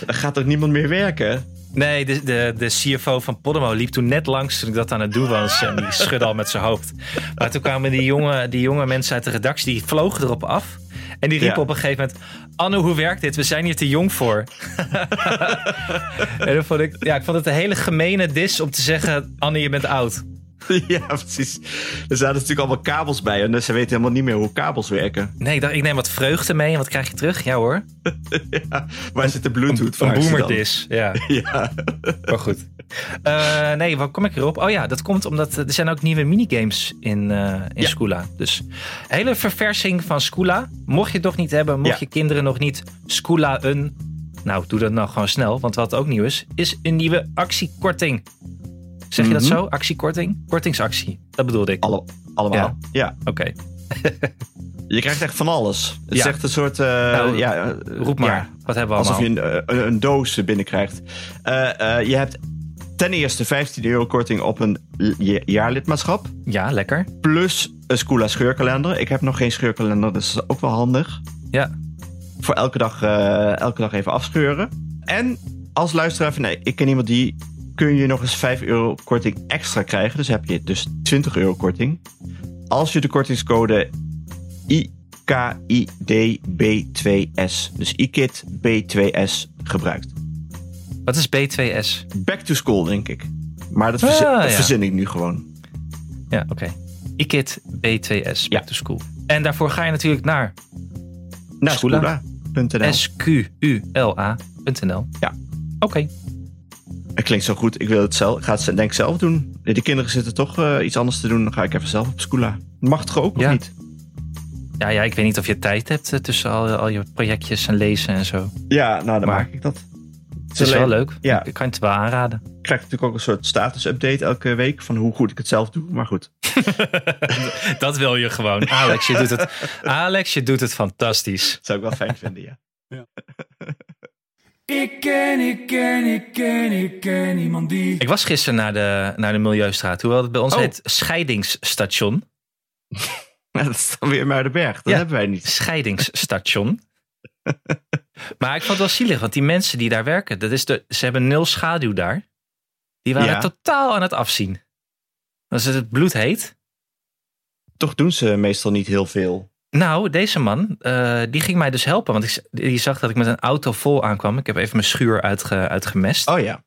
S3: dan gaat ook niemand meer werken.
S2: Nee, de, de, de CFO van Podemo liep toen net langs toen ik dat aan het doen was. En die schudde al met zijn hoofd. Maar toen kwamen die jonge, die jonge mensen uit de redactie, die vlogen erop af. En die riepen
S3: Ja.
S2: op een gegeven moment... Anne, hoe werkt dit? We zijn hier te jong voor. en dan vond ik, ja, ik vond het een hele gemene dis om te zeggen... Anne, je bent oud.
S3: ja, precies. Er zaten natuurlijk allemaal kabels bij en ze weten helemaal niet meer hoe kabels werken.
S2: Nee, ik dacht, ik neem wat vreugde mee en wat krijg je terug? Ja hoor,
S3: ja, waar zit de
S2: een,
S3: Bluetooth
S2: een
S3: van?
S2: boomerdis. Ja,
S3: Ja,
S2: maar goed. Eh, nee, waar kom ik erop? Oh ja, dat komt omdat eh, er zijn ook nieuwe minigames in, eh in
S3: Ja.
S2: Scula. Dus hele verversing van Scula. Mocht je het nog niet hebben, mocht
S3: Ja.
S2: je kinderen nog niet Scula een... Nou, doe dat nou gewoon snel, want wat ook nieuw is, is een nieuwe actiekorting. Zeg je
S3: Mhm.
S2: dat zo? Actiekorting? Kortingsactie. Dat bedoelde ik.
S3: alle, Eh, allemaal. Ja.
S2: Oké.
S3: je krijgt echt van alles. Het is
S2: Ja.
S3: echt een soort... eh,
S2: Nou,
S3: ja, eh,
S2: Roep maar,
S3: ja,
S2: wat hebben we allemaal?
S3: Alsof je een, eh, een, een doos binnenkrijgt. Eh, eh, je hebt ten eerste 15 euro korting op een je- jaarlidmaatschap.
S2: Ja, lekker.
S3: Plus een Scula scheurkalender. Ik heb nog geen scheurkalender, dus dat is ook wel handig.
S2: Ja.
S3: Voor elke dag, eh, elke dag even afscheuren. En als luisteraar van nee, ik ken iemand die... kun je nog eens 5 euro korting extra krijgen. Dus heb je dus 20 euro korting. Als je de kortingscode IKIDB2S, dus IKID B2S, gebruikt.
S2: Wat is B2S?
S3: Back to school, denk ik. Maar dat, verzin,
S2: Ah,
S3: dat
S2: ja.
S3: verzin ik nu gewoon.
S2: Ja, oké. IKIT B2S,
S3: Ja.
S2: Back to School. En daarvoor ga je natuurlijk naar
S3: Naar
S2: Scula?
S3: Scula.nl.
S2: squla.nl.
S3: Ja.
S2: Oké.
S3: Het klinkt zo goed. Ik wil het zelf. Ik ga het denk ik zelf doen. De kinderen zitten toch eh, iets anders te doen. Dan ga ik even zelf op Scula. Mag toch ook,
S2: Ja.
S3: of niet?
S2: Ja, ja, ik weet niet of je tijd hebt eh, tussen al, al je projectjes en lezen en zo.
S3: Ja, nou dan
S2: Maar-
S3: maak ik dat.
S2: Het is wel leuk.
S3: Ja.
S2: Ik kan het wel aanraden.
S3: Ik krijg natuurlijk ook een soort status-update elke week. Van hoe goed ik het zelf doe. Maar goed.
S2: Dat wil je gewoon. Alex, je doet het, Alex, je doet het fantastisch.
S3: Dat zou ik wel fijn vinden, ja.
S7: Ik ken, ik ken, ik ken, ik ken iemand die.
S2: Ik was gisteren naar de, naar de Milieustraat. Hoewel het bij ons
S3: Oh.
S2: heet scheidingsstation.
S3: Maar dat is dan weer Muidenberg. Dat
S2: Ja.
S3: hebben wij niet.
S2: scheidingsstation. maar ik vond het wel zielig, want die mensen die daar werken, dat is de, ze hebben nul schaduw daar. Die waren
S3: Ja.
S2: totaal aan het afzien. Was het het bloed heet?
S3: Toch doen ze meestal niet heel veel.
S2: Nou, deze man, eh, die ging mij dus helpen. Want ik, z- die zag dat ik met een auto vol aankwam. Ik heb even mijn schuur uitge, uitgemest.
S3: Oh ja, oké.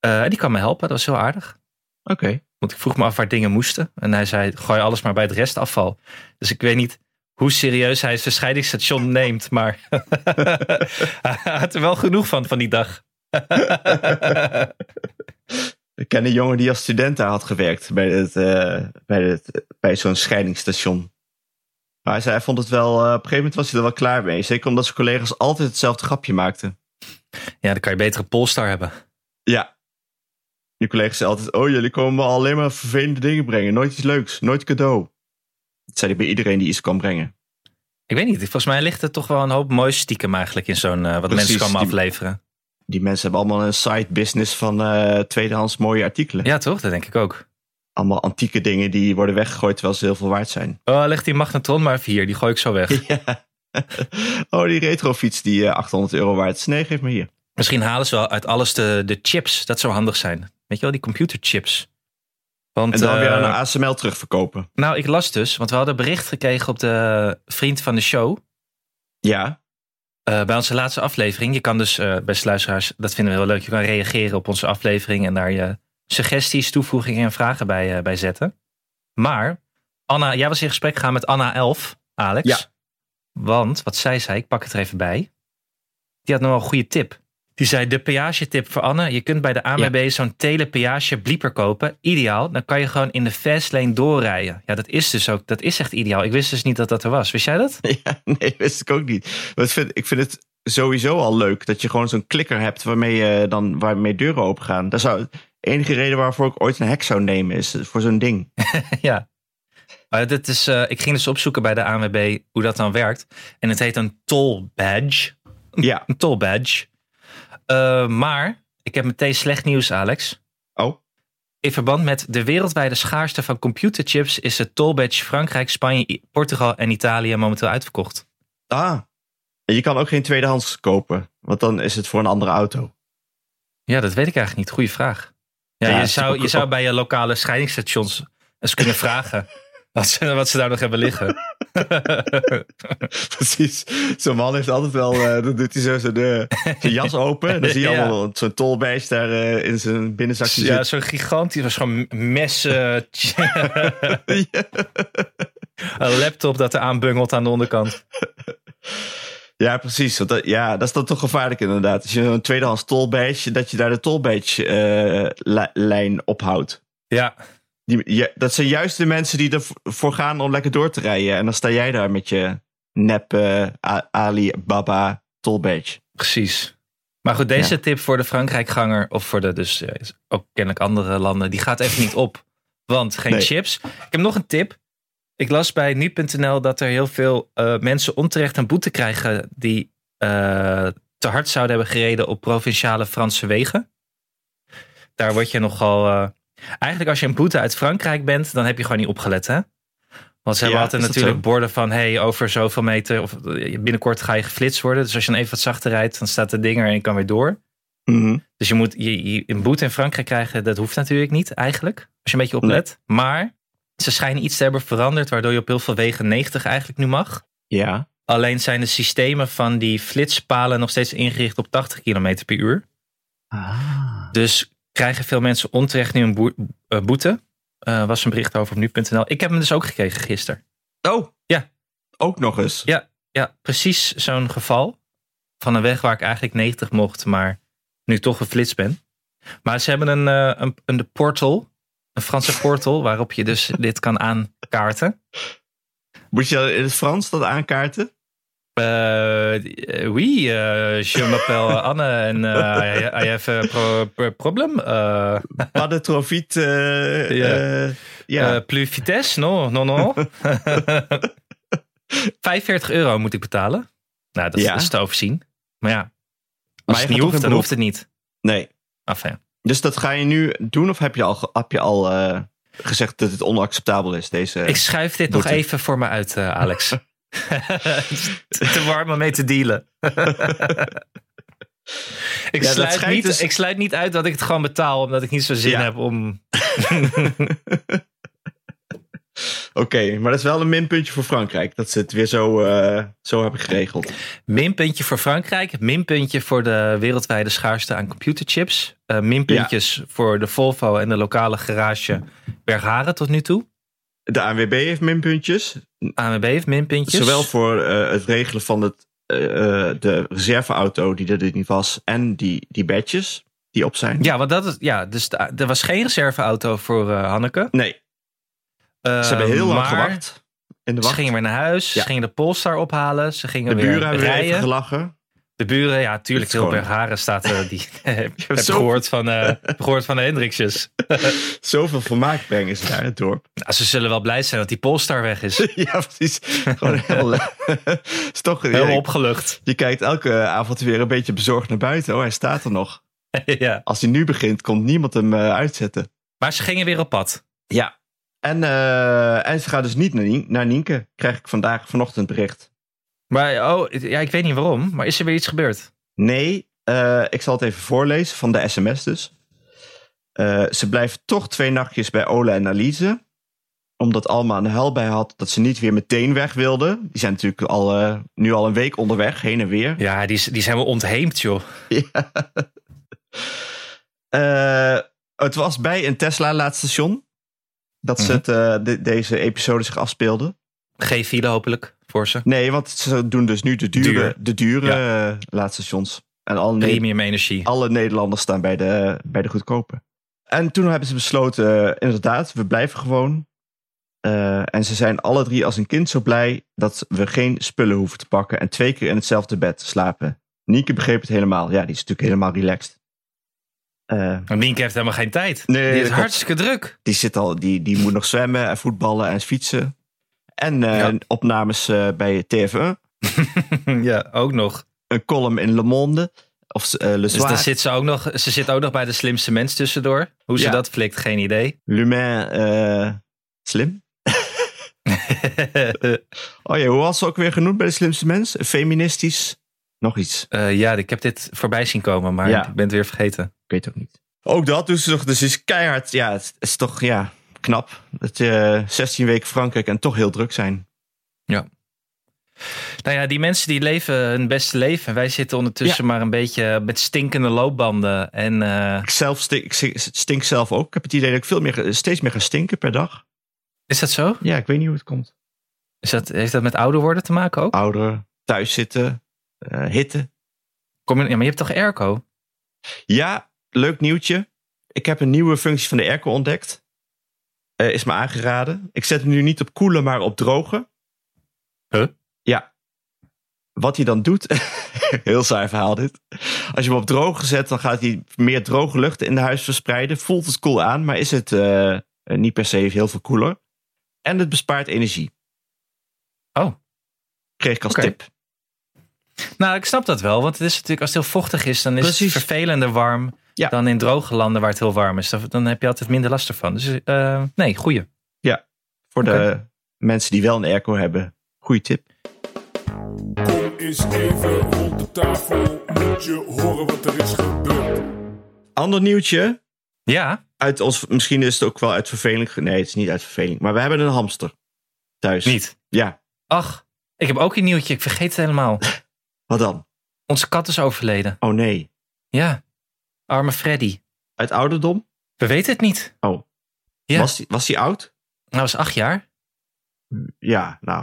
S2: Eh, en die kwam me helpen, dat was heel aardig. Want ik vroeg me af waar dingen moesten. En hij zei, gooi alles maar bij het restafval. Dus ik weet niet hoe serieus hij zijn scheidingsstation neemt. Maar hij had er wel genoeg van, van die dag.
S3: Ik ken een jongen die als student daar had gewerkt bij, het, eh, bij, het, bij zo'n scheidingsstation. Maar hij, zei, hij vond het wel, eh, op een gegeven moment was hij er wel klaar mee. Zeker omdat zijn collega's altijd hetzelfde grapje maakten.
S2: Ja, dan kan je betere Polestar hebben.
S3: Ja. Je collega's zeiden altijd, oh jullie komen me alleen maar vervelende dingen brengen. Nooit iets leuks, nooit cadeau. Dat zei hij bij iedereen die iets kan brengen.
S2: Ik weet niet, volgens mij ligt er toch wel een hoop moois stiekem eigenlijk in zo'n... eh, wat
S3: Precies,
S2: mensen kan
S3: die-
S2: afleveren.
S3: Die mensen hebben allemaal een side business van eh, tweedehands mooie artikelen.
S2: Ja toch, dat denk ik ook.
S3: Allemaal antieke dingen die worden weggegooid terwijl ze heel veel waard zijn.
S2: Oh, leg die magnetron maar even hier, die gooi ik zo weg.
S3: Ja. Oh, die retrofiets die eh, 800 euro waard is. Nee, geef me hier.
S2: Misschien halen ze wel uit alles de, de chips. Dat zou handig zijn. Weet je wel, die computerchips. Want,
S3: En dan
S2: eh,
S3: weer aan een ASML terugverkopen.
S2: Nou, ik las dus, want we hadden bericht gekregen op de vriend van de show.
S3: Ja.
S2: eh, bij onze laatste aflevering. Je kan dus, eh beste luisteraars, dat vinden we heel leuk. Je kan reageren op onze aflevering en daar je suggesties, toevoegingen en vragen bij, eh, bij zetten. Maar, Anna, jij was in gesprek gegaan met Anna Elf, Alex.
S3: Ja.
S2: Want, wat zij zei, ik pak het er even bij. Die had nog wel een goede tip. Die zei, de peagetip voor Anne. Je kunt bij de ANWB zo'n telepeage blieper kopen. Ideaal. Dan kan je gewoon in de fastlane doorrijden. Ja, dat is dus ook, dat is echt ideaal. Ik wist dus niet dat dat er was. Wist jij dat?
S3: ja. Nee, wist ik ook niet. Maar ik vind, ik vind het sowieso al leuk dat je gewoon zo'n klikker hebt waarmee, je dan, waarmee deuren opengaan. Dat zou de enige reden waarvoor ik ooit een hek zou nemen is voor zo'n ding.
S2: Ja. Maar dit is, eh, ik ging dus opzoeken bij de ANWB hoe dat dan werkt. En het heet een toll badge.
S3: Ja.
S2: Een toll badge. Eh, maar ik heb meteen slecht nieuws, Alex.
S3: Oh.
S2: In verband met de wereldwijde schaarste van computerchips is de toll badge Frankrijk, Spanje, I- Portugal en Italië momenteel uitverkocht.
S3: Ah. En je kan ook geen tweedehands kopen, want dan is het voor een andere auto.
S2: Ja, dat weet ik eigenlijk niet. Goeie vraag. Ja,
S3: Ja,
S2: je,
S3: het is
S2: zou,
S3: ook-
S2: je zou bij je lokale scheidingsstations eens kunnen vragen wat ze, wat ze daar nog hebben liggen.
S3: Precies. Zo'n man heeft altijd wel. eh, dan doet hij zo zijn, eh, zijn jas open. En dan zie je
S2: Ja.
S3: allemaal zo'n tolbeest daar eh, in zijn binnenzakje
S2: ja,
S3: zitten.
S2: zo'n gigantisch, eh, was gewoon messen, een laptop dat er aanbungelt aan de onderkant.
S3: Ja, precies. Want dat, ja, dat is dan toch gevaarlijk inderdaad. Als je een tweedehands tolbeestje, dat je daar de tolbeestje-lijn ophoudt.
S2: Ja,
S3: Die, ja, dat zijn juist de mensen die ervoor gaan om lekker door te rijden. En dan sta jij daar met je nep eh, A- Alibaba tolbeestje.
S2: precies. Maar goed, deze tip voor de Frankrijkganger of voor de dus eh, ook kennelijk andere landen, die gaat even niet op. Want geen
S3: Nee.
S2: chips. Ik heb nog een tip. Ik las bij nu.nl dat er heel veel eh, mensen onterecht een boete krijgen die eh, te hard zouden hebben gereden op provinciale Franse wegen. Daar word je nogal. eh, eigenlijk als je een boete uit Frankrijk bent, dan heb je gewoon niet opgelet, hè? Want ze hebben
S3: Ja,
S2: altijd
S3: is dat
S2: natuurlijk
S3: zo?
S2: borden van hey, over zoveel meter of eh, binnenkort ga je geflitst worden. Dus als je dan even wat zachter rijdt, dan staat de dinger en je kan weer door. Dus je moet je, je- een boete in Frankrijk krijgen, dat hoeft natuurlijk niet eigenlijk. Als je een beetje oplet. Maar ze schijnen iets te hebben veranderd, waardoor je op heel veel wegen 90 eigenlijk nu mag.
S3: Ja.
S2: Alleen zijn de systemen van die flitspalen nog steeds ingericht op 80 km per uur. Dus krijgen veel mensen onterecht nu een boe- eh, boete. Eh, was een bericht over op nu.nl. Ik heb hem dus ook gekregen gisteren.
S3: Oh.
S2: Ja.
S3: Ook nog eens.
S2: Ja. Ja, precies zo'n geval. Van een weg waar ik eigenlijk 90 mocht, maar nu toch geflitst ben. Maar ze hebben een, eh, een, een de portal, een Franse portal, waarop je dus dit kan aankaarten.
S3: Moet je dat in het Frans dat aankaarten?
S2: Eh, eh, oui, eh, je m'appelle Anne en eh, I- I have a pro- pro- problem. Eh,
S3: Paddetrofiet. eh
S2: Ja.
S3: eh, ja.
S2: eh, plus vitesse, no, no, no. 45 euro moet ik betalen. Nou, dat, is-
S3: Ja.
S2: dat is te overzien. Maar ja, als
S3: Maar
S2: het
S3: je gaat
S2: niet
S3: toch in
S2: hoeft, dan
S3: beroep?
S2: hoeft het niet.
S3: nee.
S2: Enfin,
S3: Dus dat ga je nu doen of heb je al, ge- heb je al eh, gezegd dat het onacceptabel is? Deze...
S2: ik schuif dit nog
S3: Moet ik.
S2: even voor me uit, eh, Alex. Het is te te warm om mee te dealen. ik,
S3: dat
S2: sluit
S3: schijnt
S2: niet,
S3: dus-
S2: ik sluit niet uit dat ik het gewoon betaal, omdat ik niet zo zin
S3: Ja.
S2: heb om...
S3: Oké, maar dat is wel een minpuntje voor Frankrijk. Dat ze het weer zo, eh, zo hebben geregeld.
S2: Minpuntje voor Frankrijk. Minpuntje voor de wereldwijde schaarste aan computerchips. Eh, minpuntjes voor de Volvo en de lokale garage Bergharen tot nu toe.
S3: De ANWB heeft minpuntjes.
S2: AMB heeft minpuntjes.
S3: Zowel voor eh, het regelen van het, eh, eh, de reserveauto die er dit niet was. En die, die badges die op zijn.
S2: Ja, want dat is, ja, dus de- er was geen reserveauto voor eh, Hanneke.
S3: Nee,
S2: Eh,
S3: ze hebben heel lang
S2: maar
S3: gewacht. In
S2: Ze
S3: de wacht.
S2: gingen weer naar huis.
S3: Ja.
S2: Ze gingen de Polestar ophalen. Ze gingen
S3: de
S2: weer
S3: buren hebben weer
S2: rijden.
S3: even gelachen.
S2: de buren, ja, tuurlijk.
S3: Het is
S2: Heel
S3: gewoon-
S2: Bergharen staat eh, die. heb heb
S3: zo-
S2: gehoord van, eh, heb gehoord van de Hendriksjes.
S3: Zoveel vermaak brengen ze daar in het dorp.
S2: Nou, ze zullen wel blij zijn dat die Polestar weg is.
S3: Ja, precies. Gewoon heel. eh, is toch,
S2: Heel
S3: je-
S2: opgelucht.
S3: Je kijkt elke eh, avond weer een beetje bezorgd naar buiten. Oh, hij staat er nog.
S2: ja.
S3: Als hij nu begint, komt niemand hem eh, uitzetten.
S2: Maar ze gingen weer op pad.
S3: Ja. En, eh, en ze gaat dus niet naar, Nien- naar Nienke. Krijg ik vandaag vanochtend bericht.
S2: Maar oh, ja, ik weet niet waarom, maar is er weer iets gebeurd?
S3: Nee, eh, ik zal het even voorlezen van de sms dus. Eh, ze blijft toch twee nachtjes bij Ola en Alize. Omdat Alma een huil bij had dat ze niet weer meteen weg wilde. Die zijn natuurlijk al, eh, nu al een week onderweg, heen en weer.
S2: Ja, die, is- die zijn wel ontheemd, joh.
S3: Ja. Eh, het was bij een Tesla-laadstation dat ze
S2: Mhm.
S3: het, eh, de- deze episode zich afspeelde.
S2: Geen file hopelijk voor ze.
S3: Nee, want ze doen dus nu de dure,
S2: Duur.
S3: De dure eh, laadstations. En alle, Ne-
S2: Premium energie.
S3: alle Nederlanders staan bij de, bij de goedkope. En toen hebben ze besloten, eh, inderdaad, we blijven gewoon. Eh, en ze zijn alle drie als een kind zo blij dat we geen spullen hoeven te pakken en twee keer in hetzelfde bed te slapen. Nieke begreep het helemaal. Ja, die is natuurlijk helemaal relaxed. Eh,
S2: Maar Nienke heeft helemaal geen tijd.
S3: Nee,
S2: die is
S3: dat klopt.
S2: hartstikke druk.
S3: die, zit al, die, die moet nog zwemmen en voetballen en fietsen. En eh,
S2: Ja.
S3: opnames eh, bij TV.
S2: ja, ook nog.
S3: Een column in Le Monde. Of eh, Le
S2: Dus dan
S3: Soir.
S2: zit ze, ook nog, ze zit ook nog bij de slimste mens tussendoor. Hoe ze
S3: Ja.
S2: dat flikt, geen idee.
S3: Lumain eh, Slim. Oh ja, hoe was ze ook weer genoemd bij de slimste mens? Feministisch. Nog iets.
S2: Eh, ja, ik heb dit voorbij zien komen, maar
S3: Ja.
S2: ik ben het weer vergeten.
S3: Ik weet het ook niet. Ook dat doen ze toch. Dus is keihard. Ja, eh, het is toch ja, knap. Dat je 16 weken Frankrijk en toch heel druk zijn.
S2: Nou ja, die mensen die leven hun beste leven. En wij zitten ondertussen maar een beetje met stinkende loopbanden. En eh,
S3: Ik, zelf stink, ik stink- stink zelf ook. Ik heb het idee dat ik veel meer, ge- steeds meer ga stinken per dag.
S2: is dat zo?
S3: Ja, ik weet niet hoe het komt.
S2: Is dat, heeft dat met ouder worden te maken ook?
S3: Ouder, thuis zitten, eh, hitte.
S2: Kom je, ja, maar je hebt toch airco?
S3: Ja, leuk nieuwtje. Ik heb een nieuwe functie van de airco ontdekt. Eh, is me aangeraden. Ik zet hem nu niet op koelen, maar op drogen.
S2: Huh?
S3: Ja. Wat hij dan doet. heel saai verhaal dit. Als je hem op drogen zet, dan gaat hij meer droge lucht in de huis verspreiden. Voelt het koel aan, maar is het eh, eh, niet per se heel veel koeler. En het bespaart energie.
S2: Oh.
S3: Kreeg ik als
S2: Oké.
S3: tip.
S2: Nou, ik snap dat wel. Want het is natuurlijk als het heel vochtig is, dan is
S3: Precies.
S2: het vervelender warm
S3: Ja.
S2: dan in droge landen waar het heel warm is. Dan, dan heb je altijd minder last ervan. Dus eh, nee, goeie.
S3: Voor de
S2: Oké.
S3: mensen die wel een airco hebben. Goeie tip.
S7: Kom eens even rond de tafel, moet je horen wat er is gebeurd.
S3: Ander nieuwtje.
S2: Ja,
S3: Uit ons, misschien is het ook wel uit verveling. ge- Nee, het is niet uit verveling. Maar we hebben een hamster thuis.
S2: niet.
S3: Ja,
S2: Ach, ik heb ook een nieuwtje. Ik vergeet het helemaal.
S3: wat dan?
S2: Onze kat is overleden.
S3: Oh nee.
S2: Ja, arme Freddy.
S3: Uit ouderdom?
S2: We weten het niet.
S3: Oh.
S2: Ja.
S3: Was, die- was die oud?
S2: Hij was acht jaar.
S3: Ja, nou.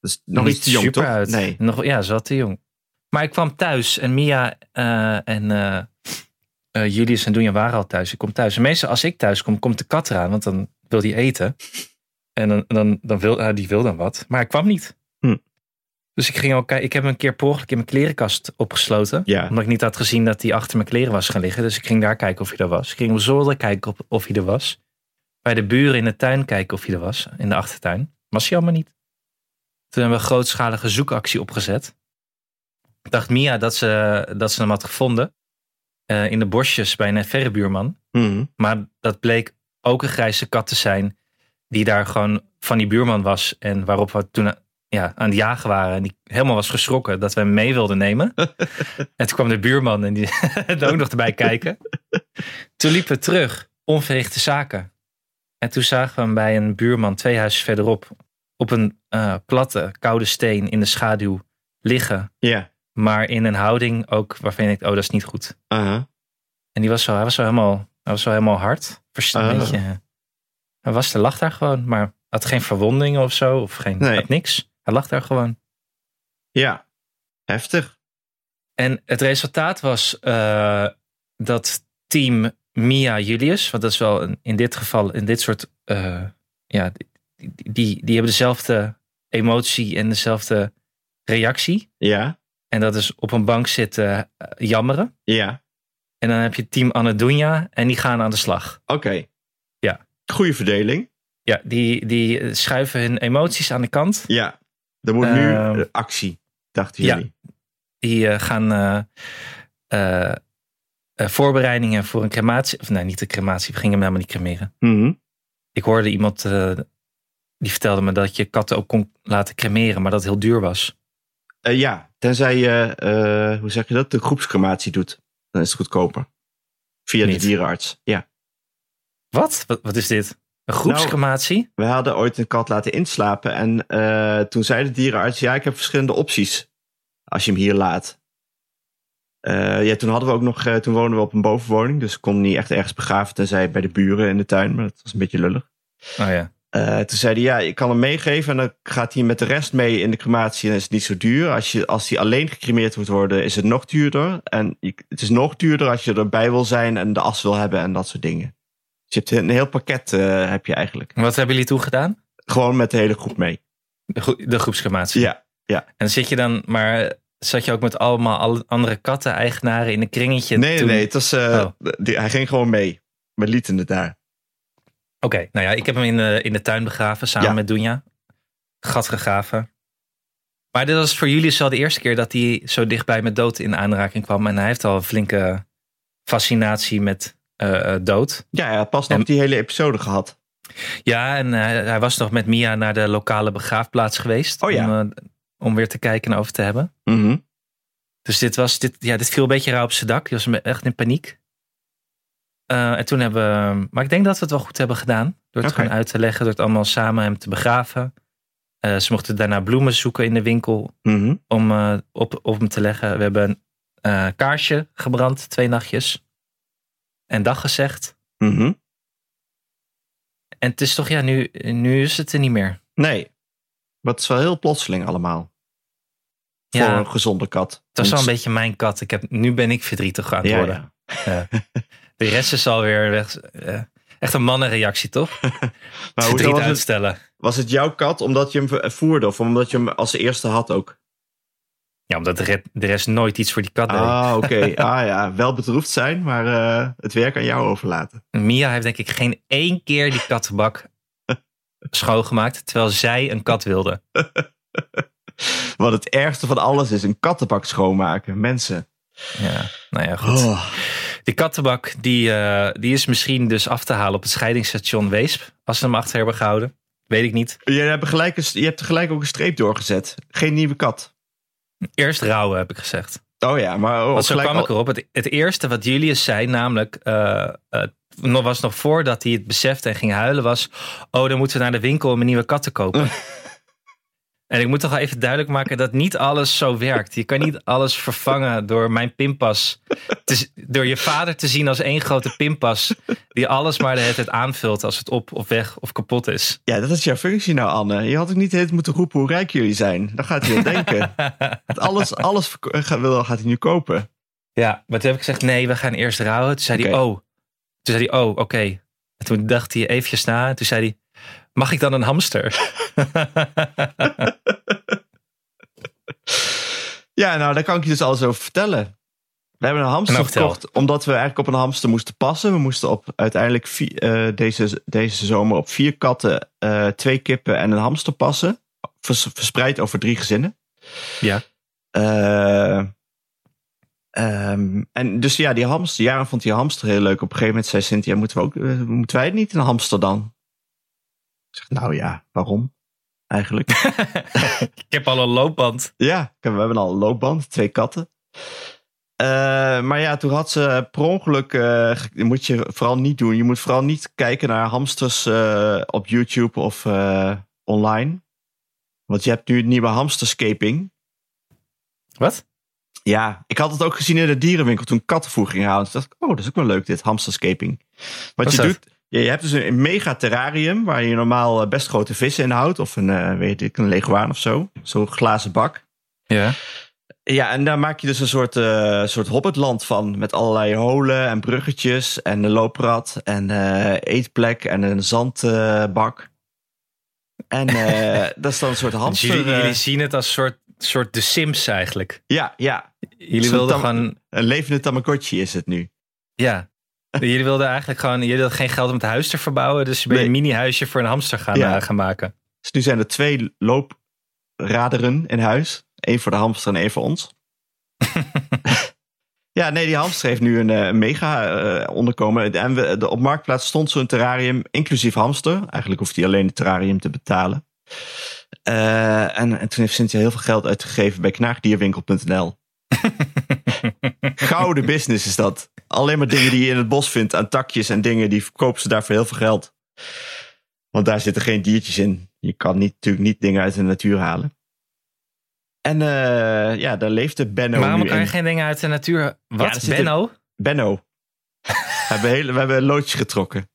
S3: Dat is nog iets te jong,
S2: super
S3: toch?
S2: Uit.
S3: Nee.
S2: Nog, ja, ze was te jong. Maar ik kwam thuis en Mia eh, en eh, eh, Julius en Doenja waren al thuis. Ik kom thuis. En meestal als ik thuis kom, komt de kat eraan, want dan wil die eten. En dan, dan, dan wil eh, die wil dan wat. Maar hij kwam niet.
S3: Hm.
S2: Dus ik ging al kijken. Ik heb hem een keer per ongeluk in mijn klerenkast opgesloten.
S3: Ja.
S2: Omdat ik niet had gezien dat hij achter mijn kleren was gaan liggen. Dus ik ging daar kijken of hij er was. Ik ging op zolder kijken of, of hij er was. Bij de buren in de tuin kijken of hij er was. In de achtertuin. Was hij allemaal niet. Toen hebben we een grootschalige zoekactie opgezet. Ik dacht Mia dat ze, dat ze hem had gevonden. eh, in de bosjes bij een verre buurman.
S3: Mhm.
S2: Maar dat bleek ook een grijze kat te zijn. Die daar gewoon van die buurman was. En waarop we toen ja, aan het jagen waren. En die helemaal was geschrokken dat we hem mee wilden nemen. en toen kwam de buurman en die er ook nog erbij kijken. Toen liepen we terug. Onverrichte zaken. En toen zagen we hem bij een buurman twee huizen verderop. Op een eh, platte, koude steen in de schaduw liggen.
S3: Ja.
S2: Maar in een houding ook waarvan ik, oh dat is niet goed.
S3: Aha.
S2: En die was zo, hij was zo helemaal, hij was zo helemaal hard. Verst- een
S3: Ah.
S2: beetje- Hij was, hij lag daar gewoon, maar had geen verwondingen of zo. Of geen,
S3: Nee.
S2: had niks. Hij lag daar gewoon.
S3: Ja. Heftig.
S2: En het resultaat was eh, dat team Mia Julius, want dat is wel een, in dit geval, in dit soort, eh, ja, die, die, die, die hebben dezelfde emotie en dezelfde reactie.
S3: Ja.
S2: En dat is op een bank zitten eh, jammeren.
S3: Ja.
S2: En dan heb je team Annedonia en die gaan aan de slag.
S3: Oké.
S2: Ja.
S3: Goeie verdeling.
S2: Ja, die, die schuiven hun emoties aan de kant.
S3: Ja. Er moet nu
S2: Ehm.
S3: eh, actie, dachten
S2: Ja.
S3: jullie.
S2: Die eh, gaan eh, eh, eh, voorbereidingen voor een crematie. Of nee, niet de crematie. We gingen hem helemaal niet cremeren.
S3: Mhm.
S2: Ik hoorde iemand eh, die vertelde me dat je katten ook kon laten cremeren, maar dat heel duur was.
S3: Eh, ja. Tenzij je, eh, hoe zeg je dat? De groepscrematie doet. Dan is het goedkoper. Via
S2: Niet.
S3: de dierenarts. Ja.
S2: Wat? Wat, wat is dit?
S3: Nou,
S2: Een groepscrematie?
S3: We hadden ooit een kat laten inslapen. En eh, toen zei de dierenarts: Ja, ik heb verschillende opties. Als je hem hier laat. Eh, ja, toen hadden we ook nog. eh, toen woonden we op een bovenwoning. Dus ik kon hem niet echt ergens begraven. Tenzij bij de buren in de tuin. Maar dat was een beetje lullig.
S2: Oh ja.
S3: Eh, toen zei hij: Ja, ik kan hem meegeven. En dan gaat hij met de rest mee in de crematie. En is het niet zo duur. Als, je, als hij alleen gecremeerd moet worden, is het nog duurder. En je- het is nog duurder als je erbij wil zijn. En de as wil hebben en dat soort dingen. Dus je hebt een heel pakket eh, heb je eigenlijk.
S2: Wat hebben jullie toen gedaan?
S3: Gewoon met de hele groep mee.
S2: De, gro- de groepscrematie.
S3: Ja.
S2: En zit je dan, maar zat je ook met allemaal alle andere katten-eigenaren in een kringetje?
S3: Nee, nee,
S2: toen-
S3: nee. Het was, eh,
S2: Oh.
S3: die- hij ging gewoon mee. We lieten het daar.
S2: Oké, nou ja, ik heb hem in de, in de tuin begraven samen
S3: Ja.
S2: met Dunja. Gat gegraven. Maar dit was voor jullie dus wel de eerste keer dat hij zo dichtbij met dood in aanraking kwam. En hij heeft al een flinke fascinatie met eh, eh, dood.
S3: Ja, ja pas nog
S2: En-
S3: die hele episode gehad.
S2: Ja, en hij, hij was nog met Mia naar de lokale begraafplaats geweest.
S3: Oh ja.
S2: Om, eh, om weer te kijken en over te hebben.
S3: Mhm.
S2: Dus dit, was, dit, ja, dit viel een beetje rauw op zijn dak. Die was echt in paniek. Eh, en toen hebben we... Maar ik denk dat we het wel goed hebben gedaan. Door het
S3: Oké.
S2: gewoon uit te leggen. Door het allemaal samen hem te begraven. Eh, ze mochten daarna bloemen zoeken in de winkel
S3: Mhm.
S2: om eh, op, op hem te leggen. We hebben een eh, kaarsje gebrand, twee nachtjes. En dag gezegd.
S3: Mhm.
S2: En het is toch, ja, nu, nu is het er niet meer.
S3: Nee. Maar het is wel heel plotseling allemaal.
S2: Ja.
S3: Voor een gezonde kat.
S2: Het was wel een
S3: Want-
S2: beetje mijn kat. Ik heb, nu ben ik verdrietig aan het
S3: Ja,
S2: worden.
S3: ja.
S2: De rest is alweer weg. eh, echt een mannenreactie, toch?
S3: Maar hoezo
S2: Verdriet
S3: was het,
S2: uitstellen.
S3: was het jouw kat omdat je hem ver- voerde of omdat je hem als eerste had ook?
S2: Ja, omdat de re- de rest nooit iets voor die kat deed.
S3: Ah, oké. Ah ja, wel bedroefd zijn, maar eh, het werk aan jou overlaten.
S2: Mia heeft denk ik geen één keer die kattenbak schoongemaakt, terwijl zij een kat wilde.
S3: Wat het ergste van alles is, een kattenbak schoonmaken. Mensen.
S2: Ja, nou ja, goed.
S3: Oh.
S2: Die kattenbak, die, eh, die is misschien dus af te halen op het scheidingsstation Weesp, als ze hem achter hebben gehouden. Weet ik niet.
S3: Je, hebt gelijk een- je hebt er gelijk ook een streep doorgezet. Geen nieuwe kat.
S2: Eerst rouwen, heb ik gezegd.
S3: Oh ja, maar... Oh,
S2: Want zo
S3: gelijk
S2: kwam
S3: al-
S2: ik erop. Het, het eerste wat Julius zei, namelijk, eh, eh, nog was nog voordat hij het besefte en ging huilen, was: Oh, dan moeten we naar de winkel om een nieuwe kat te kopen. en ik moet toch wel even duidelijk maken dat niet alles zo werkt. Je kan niet alles vervangen door mijn pinpas. te z- door je vader te zien als één grote pinpas die alles maar de hele tijd aanvult als het op of weg of kapot is.
S3: Ja, dat is jouw functie nou, Anne. Je had ook niet het moeten roepen hoe rijk jullie zijn. Dan gaat hij wel denken. Want alles alles verko- eh, gaat, wil- gaat hij nu kopen.
S2: Ja, maar toen heb ik gezegd, nee, we gaan eerst rouwen. Toen zei hij,
S3: Oké.
S2: oh. Toen zei hij, oh, oké. En toen dacht hij eventjes na. En toen zei hij, mag ik dan een hamster?
S3: Ja, nou, daar kan ik je dus alles over vertellen. We hebben een hamster
S2: Nou, vertel.
S3: gekocht omdat we eigenlijk op een hamster moesten passen. We moesten op, uiteindelijk vi- eh, deze, deze zomer op vier katten, eh, twee kippen en een hamster passen. Vers- verspreid over drie gezinnen.
S2: Ja.
S3: Eh, ehm, en dus ja, die hamster. Jaren vond die hamster heel leuk. Op een gegeven moment zei Cynthia, moeten we, ook, eh, moeten wij niet een hamster dan? Ik zeg, nou ja, waarom eigenlijk?
S2: ik heb al een loopband.
S3: Ja, ik heb- we hebben al een loopband, twee katten. Eh, maar ja, toen had ze per ongeluk, eh, ge- moet je vooral niet doen. Je moet vooral niet kijken naar hamsters eh, op YouTube of eh, online. Want je hebt nu het nieuwe hamsterscaping.
S2: Wat?
S3: Ja, ik had het ook gezien in de dierenwinkel toen ik kattenvoer ging halen. Toen dacht ik, oh, dat is ook wel leuk dit, hamsterscaping. Wat,
S2: Wat is
S3: je
S2: dat?
S3: doet, je, je hebt dus een mega terrarium waar je normaal eh, best grote vissen in houdt. Of een, eh, weet ik, een leguaan of zo. Zo'n glazen bak.
S2: Ja.
S3: Ja, en daar maak je dus een soort, eh, soort hobbitland van. Met allerlei holen en bruggetjes en een looprad en eh, eetplek en een zandbak. en eh, dat is dan een soort
S2: Dus
S3: hamster.
S2: jullie,
S3: eh,
S2: jullie zien het als soort, soort de Sims eigenlijk.
S3: ja, ja.
S2: Jullie
S3: Zo'n
S2: wilden
S3: tam-
S2: gewoon,
S3: Een levende Tamagotchi is het nu.
S2: ja. Jullie wilden eigenlijk gewoon, jullie hadden geen geld om het huis te verbouwen. Dus je ben je
S3: Nee.
S2: een mini-huisje voor een hamster gaan,
S3: Ja.
S2: eh, gaan maken.
S3: Dus nu zijn er twee loopraderen in huis. Eén voor de hamster en één voor ons. ja, nee, die hamster heeft nu een eh, mega eh, onderkomen. En we, de, op Marktplaats stond zo'n terrarium, inclusief hamster. Eigenlijk hoeft hij alleen het terrarium te betalen. Eh, en, en toen heeft Cynthia heel veel geld uitgegeven bij knaagdierwinkel.nl. Gouden business is dat. Alleen maar dingen die je in het bos vindt aan takjes en dingen, die verkopen ze daar voor heel veel geld. Want daar zitten geen diertjes in. Je kan niet, natuurlijk niet dingen uit de natuur halen. En eh, ja, daar leefde Benno
S2: Waarom
S3: nu
S2: kan je
S3: in.
S2: geen dingen uit de natuur...
S3: er
S2: Wat,
S3: zitten-
S2: Benno?
S3: Benno. we, hebben hele, we hebben een loodje getrokken.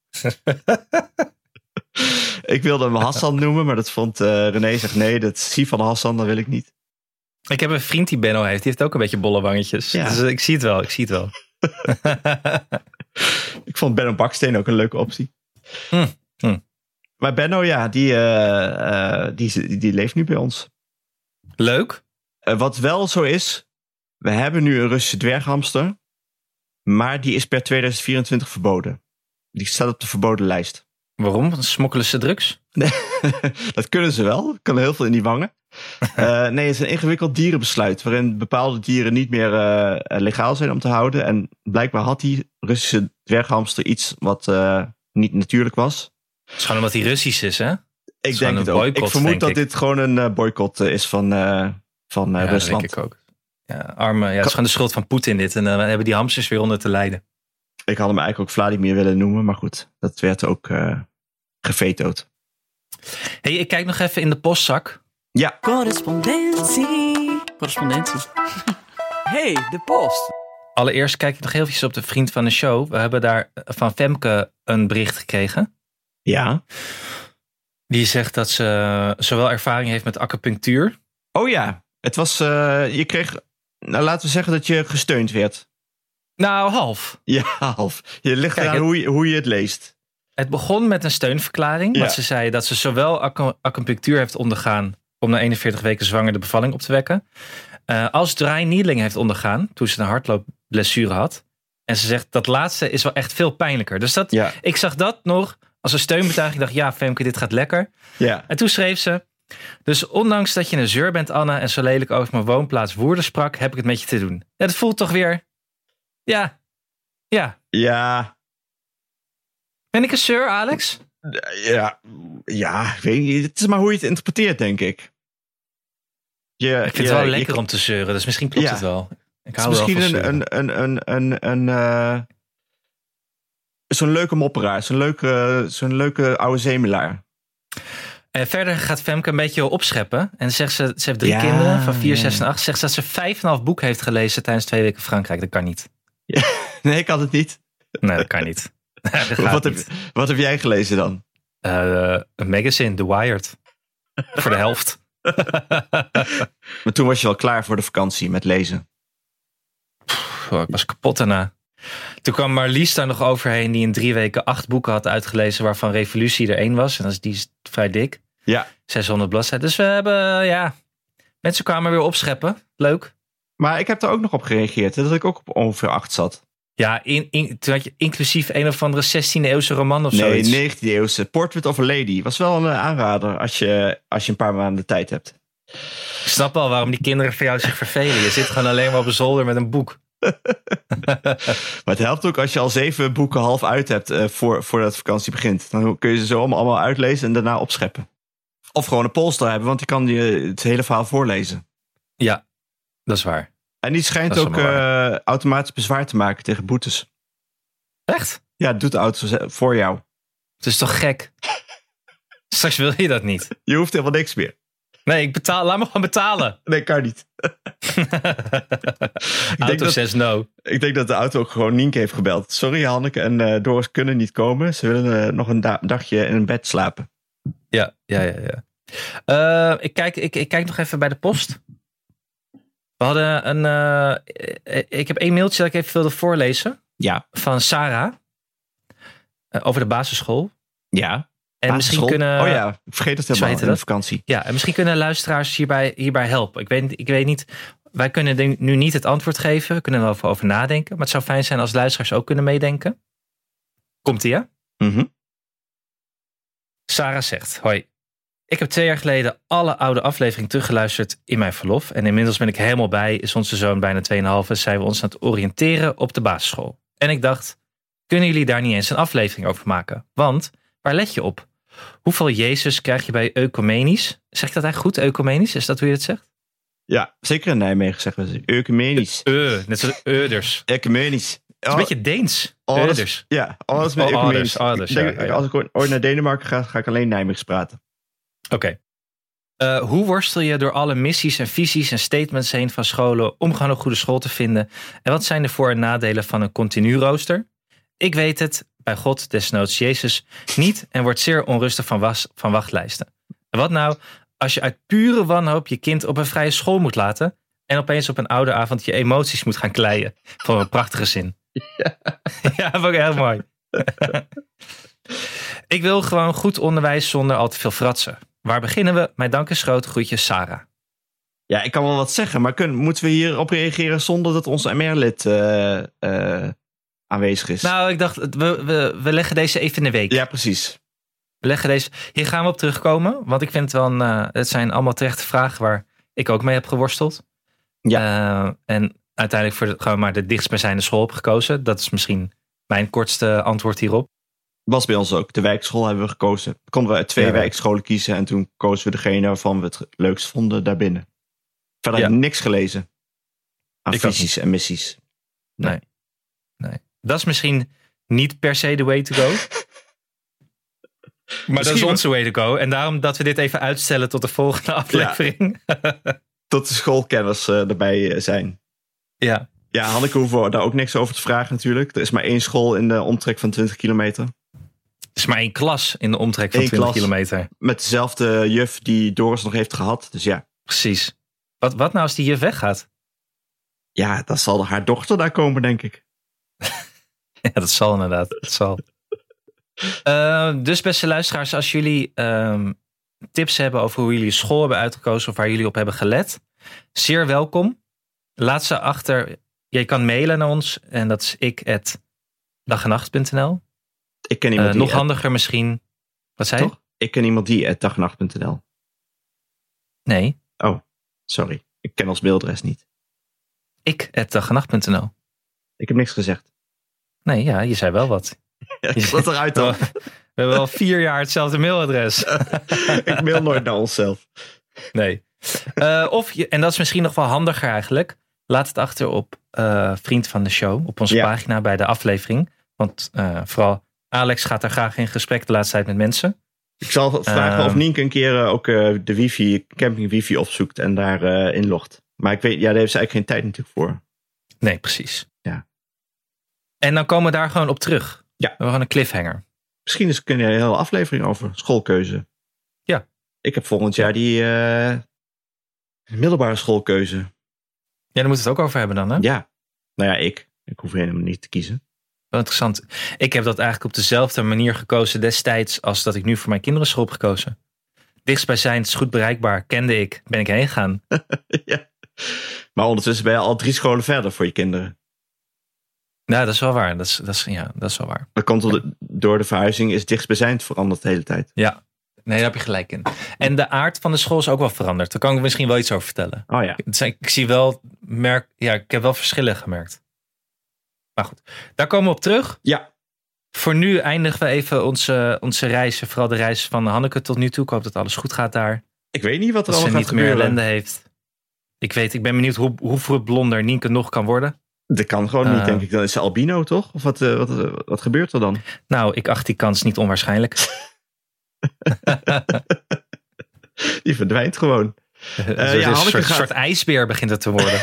S3: ik wilde hem Hassan noemen, maar dat vond eh, René zegt nee, dat is Sifan Hassan, dat wil ik niet.
S2: Ik heb een vriend die Benno heeft. Die heeft ook een beetje bolle wangetjes.
S3: Ja.
S2: Dus eh, ik zie het wel, ik zie het wel.
S3: Ik vond Benno Baksteen ook een leuke optie.
S2: Hmm, hmm.
S3: Maar Benno, ja, die, eh, eh, die, die, die leeft nu bij ons.
S2: Leuk.
S3: Eh, wat wel zo is, we hebben nu een Russische dwerghamster, maar die is per 2024 verboden. Die staat op de verboden lijst.
S2: Waarom? Want Smokkelen ze drugs?
S3: dat kunnen ze wel. Er kan heel veel in die wangen. Eh, nee, het is een ingewikkeld dierenbesluit. Waarin bepaalde dieren niet meer eh, eh, legaal zijn om te houden. En blijkbaar had die Russische dwerghamster iets wat eh, niet natuurlijk was.
S2: Het is gewoon omdat hij Russisch is, hè?
S3: Ik
S2: is
S3: denk
S2: gewoon
S3: het
S2: een
S3: ook.
S2: boycott,
S3: ik vermoed
S2: denk
S3: dat
S2: ik.
S3: dit gewoon een eh, boycott eh, is van, eh, van eh,
S2: ja, dat
S3: Rusland.
S2: denk ik ook. Ja, arme, ja, het is gewoon de schuld van Poetin dit. En dan hebben die hamsters weer onder te lijden.
S3: Ik had hem eigenlijk ook Vladimir willen noemen, maar goed, dat werd ook eh gevetood.
S2: hey, ik kijk nog even in de postzak.
S3: Ja,
S8: Correspondentie. Correspondentie. hey, de post.
S2: Allereerst kijk ik nog heel even op de vriend van de show. We hebben daar van Femke een bericht gekregen.
S3: ja.
S2: Die zegt dat ze eh, zowel ervaring heeft met acupunctuur.
S3: Oh ja, het was, eh, je kreeg, nou laten we zeggen dat je gesteund werd.
S2: Nou, half.
S3: Ja, half. Je ligt
S2: Kijk,
S3: eraan
S2: het-
S3: hoe, je, hoe je het leest.
S2: Het begon met een steunverklaring.
S3: Ja.
S2: Want ze zei dat ze zowel acu- acupunctuur heeft ondergaan om na 41 weken zwanger de bevalling op te wekken. eh, als dry needling heeft ondergaan toen ze een hardloopblessure had. En ze zegt dat laatste is wel echt veel pijnlijker. Dus dat,
S3: Ja,
S2: ik zag dat nog als een steunbetuiging. Ik dacht, ja Femke, dit gaat lekker.
S3: ja.
S2: En toen schreef ze. Dus ondanks dat je een zeur bent, Anna, en zo lelijk over mijn woonplaats Woerden sprak, heb ik het met je te doen. Ja, dat voelt toch weer. Ja. Ja.
S3: Ja,
S2: Ben ik een zeur, Alex?
S3: ja, ja, ik weet niet. Het is maar hoe je het interpreteert, denk ik. Je,
S2: Ik vind
S3: je-
S2: het wel
S3: je-
S2: lekker om te zeuren, dus misschien klopt
S3: Ja.
S2: het wel. Ik
S3: Het is
S2: hou wel
S3: misschien
S2: van
S3: een,
S2: zeuren.
S3: een, een, een, een, een eh, zo'n leuke mopperaar, zo'n leuke, zo'n leuke oude zemelaar.
S2: En Eh, verder gaat Femke een beetje opscheppen. En zegt ze, ze heeft drie
S3: Ja,
S2: kinderen van 4,
S3: ja.
S2: 6 en 8. Zegt ze dat ze vijf en een half boek heeft gelezen tijdens twee weken Frankrijk. Dat kan niet.
S3: Nee, ik had het niet.
S2: Nee, dat kan niet. dat gaat
S3: Wat heb,
S2: niet.
S3: wat heb jij gelezen dan?
S2: Eh, een magazine, The Wired. Voor de helft.
S3: Maar toen was je wel klaar voor de vakantie met lezen.
S2: Goh, ik was kapot daarna. Toen kwam Marlies daar nog overheen, die in drie weken acht boeken had uitgelezen, waarvan Revolutie er één was. En dat is, die is vrij dik.
S3: Ja.
S2: 600 bladzijden. Dus we hebben, ja. Mensen kwamen weer opscheppen. Leuk.
S3: Maar ik heb daar ook nog op gereageerd, hè, dat ik ook op ongeveer acht zat.
S2: Ja, in, in, toen had je inclusief een of andere 16e-eeuwse roman of
S3: nee,
S2: zoiets.
S3: 19e eeuwse. Portrait of a Lady was wel een eh, aanrader als je, als je een paar maanden tijd hebt.
S2: Ik snap al waarom die kinderen van jou zich vervelen. Je zit gewoon alleen maar op een zolder met een boek.
S3: Maar het helpt ook als je al zeven boeken half uit hebt eh, voor, voordat de vakantie begint. Dan kun je ze zo allemaal, allemaal uitlezen en daarna opscheppen. Of gewoon een polster hebben, want die kan je het hele verhaal voorlezen.
S2: Ja, dat is waar.
S3: En die schijnt
S2: Dat is
S3: ook
S2: allemaal
S3: eh, automatisch bezwaar te maken tegen boetes.
S2: Echt?
S3: Ja, dat doet de auto ze- voor jou.
S2: Het is toch gek? Straks wil je dat niet.
S3: Je hoeft helemaal niks meer.
S2: Nee, ik betaal, laat me gewoon betalen.
S3: Nee, kan niet.
S2: Auto
S3: dat-
S2: says no.
S3: Ik denk dat de auto ook gewoon Nienke heeft gebeld. Sorry, Hanneke en eh, Doris kunnen niet komen. Ze willen eh, nog een da- dagje in een bed slapen.
S2: Ja, ja, ja. ja. Eh, ik, kijk, ik, ik kijk nog even bij de post. We hadden een. eh, ik heb één mailtje dat ik even wilde voorlezen.
S3: Ja.
S2: Van Sarah. Eh, over de basisschool.
S3: Ja.
S2: En misschien, kunnen,
S3: Oh ja, ik vergeet het helemaal
S2: heette
S3: in de
S2: dat?
S3: vakantie.
S2: ja, en misschien kunnen luisteraars hierbij, hierbij helpen. Ik weet, ik weet niet. Wij kunnen denk- nu niet het antwoord geven. We kunnen er wel over- over nadenken. Maar het zou fijn zijn als luisteraars ook kunnen meedenken. Komt ie, hè?
S3: Mhm.
S2: Sarah zegt: Hoi. Ik heb twee jaar geleden alle oude afleveringen teruggeluisterd in mijn verlof. En inmiddels ben ik helemaal bij. Is onze zoon bijna 2,5 en zijn we ons aan het oriënteren op de basisschool. En ik dacht: kunnen jullie daar niet eens een aflevering over maken? Want waar let je op? Hoeveel Jezus krijg je bij Ecumenisch? Zeg ik dat eigenlijk goed? Ecumenisch? Is dat hoe je het zegt?
S3: Ja, zeker in Nijmegen zeggen ze ecumenisch.
S2: Eh, net zoals Euders.
S3: Ecumenisch.
S2: Het is een beetje Deens.
S3: Oh, dat is-
S2: Euders.
S3: Ja, alles met
S2: Oh, ouders,
S3: ecumenisch.
S2: ouders,
S3: Ik denk,
S2: ja, ja, ja.
S3: Als ik ooit- ooit naar Denemarken ga, ga ik alleen Nijmegens praten.
S2: Oké. Eh, hoe worstel je door alle missies en visies en statements heen van scholen om gewoon een goede school te vinden? En wat zijn de voor- en nadelen van een continu rooster? Ik weet het, bij God, desnoods Jezus, niet en word zeer onrustig van, was, van wachtlijsten. En wat nou als je uit pure wanhoop je kind op een vrije school moet laten en opeens op een oude avond je emoties moet gaan kleien? Van een prachtige zin. Ja, ja vond ik heel mooi. Ik wil gewoon goed onderwijs zonder al te veel fratsen. Waar beginnen we? Mijn dank is groot. Groetjes, Sarah.
S3: Ja, ik kan wel wat zeggen, maar kunnen, moeten we hierop reageren zonder dat ons MR-lid eh, eh, aanwezig is?
S2: Nou, ik dacht, we, we, we leggen deze even in de week.
S3: ja, precies.
S2: We leggen deze, hier gaan we op terugkomen. Want ik vind het wel een, eh, het zijn allemaal terechte vragen waar ik ook mee heb geworsteld. Ja. en uiteindelijk voor de, gewoon maar de dichtstbijzijnde school heb gekozen. Dat is misschien mijn kortste antwoord hierop.
S3: Was bij ons ook. De wijkschool hebben we gekozen. Konden we uit twee
S2: Ja, ja.
S3: wijkscholen kiezen en toen kozen we degene waarvan we het leukst vonden daarbinnen. Verder heb ik niks gelezen aan
S2: Ik ook
S3: visies en missies.
S2: Dat is misschien niet per se the way to go. Maar dat is
S3: Misschien-
S2: onze way to go. En daarom dat we dit even uitstellen tot de volgende aflevering. Ja.
S3: Tot de schoolkenners eh, erbij eh, zijn. Ja, Hanneke hoeven we daar ook niks over te vragen natuurlijk. Er is maar één school in de omtrek van 20 kilometer.
S2: Het is maar één klas in de omtrek van
S3: Eén
S2: 20
S3: klas.
S2: kilometer.
S3: Met dezelfde juf die Doris nog heeft gehad. Dus ja,
S2: Precies. Wat, wat nou als die hier weggaat?
S3: ja dan zal haar dochter daar komen, denk ik.
S2: Ja, dat zal inderdaad. Dat zal. Eh, dus beste luisteraars, als jullie ehm, tips hebben over hoe jullie school hebben uitgekozen of waar jullie op hebben gelet, zeer welkom. Laat ze achter. Je kan mailen naar ons en dat is ik dagenacht.nl.
S3: Ik ken iemand die...
S2: Eh, nog handiger misschien. Wat zei je?
S3: Toch? Ik ken iemand die eh, at dagnacht.nl.
S2: Nee,
S3: Sorry, ik ken ons mailadres niet.
S2: ik dagenacht.nl.
S3: Ik heb niks gezegd.
S2: Nee, ja, je zei wel wat.
S3: Ja, ik zat eruit
S2: We
S3: dan.
S2: hebben al vier jaar hetzelfde mailadres.
S3: ik mail nooit naar onszelf.
S2: Nee. Eh, of je, en dat is misschien nog wel handiger eigenlijk. Laat het achter op eh, Vriend van de Show. Op onze
S3: Ja.
S2: pagina bij de aflevering. Want eh, vooral Alex gaat daar graag in gesprek de laatste tijd met mensen.
S3: Ik zal vragen of
S2: Ehm.
S3: Nienke een keer eh, ook eh, de wifi, camping wifi opzoekt en daar eh, inlogt. Maar ik weet, ja, daar heeft ze eigenlijk geen tijd natuurlijk voor.
S2: Nee, precies.
S3: Ja.
S2: En dan komen we daar gewoon op terug. We
S3: Ja.
S2: hebben gewoon een cliffhanger.
S3: Misschien is kunnen we een hele aflevering over schoolkeuze.
S2: Ja.
S3: Ik heb volgend jaar die eh, middelbare schoolkeuze.
S2: Ja, daar moeten we het ook over hebben dan. Hè?
S3: Ja. Nou ja, ik. Ik hoef helemaal niet te kiezen.
S2: Wel interessant. Ik heb dat eigenlijk op dezelfde manier gekozen destijds als dat ik nu voor mijn kinderen school heb gekozen. Dichtstbijzijnd is goed bereikbaar, kende ik, ben ik heen gegaan.
S3: ja. Maar ondertussen ben je al drie scholen verder voor je kinderen.
S2: Nou, dat is wel waar. Dat is, dat is, ja, dat is wel waar.
S3: Dat komt door de, door de verhuizing is dichtstbijzijnd veranderd de hele tijd.
S2: Ja, nee, daar heb je gelijk in. En de aard van de school is ook wel veranderd. Daar kan ik misschien wel iets over vertellen.
S3: Oh ja.
S2: Het zijn- Ik zie wel, merk, ja, ik heb wel verschillen gemerkt. Maar goed, daar komen we op terug.
S3: Ja.
S2: Voor nu eindigen we even onze, onze reizen. Vooral de reis van Hanneke tot nu toe. Ik hoop dat alles goed gaat daar.
S3: Ik weet niet wat er
S2: Dat ze
S3: allemaal
S2: niet
S3: gaat
S2: meer
S3: gebeuren.
S2: ellende heeft. Ik weet, ik ben benieuwd hoe, hoeveel blonder Nienke nog kan worden.
S3: Dat kan gewoon
S2: Eh.
S3: niet, denk ik. Dan is ze albino, toch? Of wat, eh, wat, eh, wat gebeurt er dan?
S2: Nou, ik acht die kans niet onwaarschijnlijk.
S3: Die verdwijnt gewoon.
S2: een
S3: Eh, ja,
S2: soort,
S3: Hanneke
S2: soort,
S3: gaat-
S2: soort ijsbeer begint het te worden.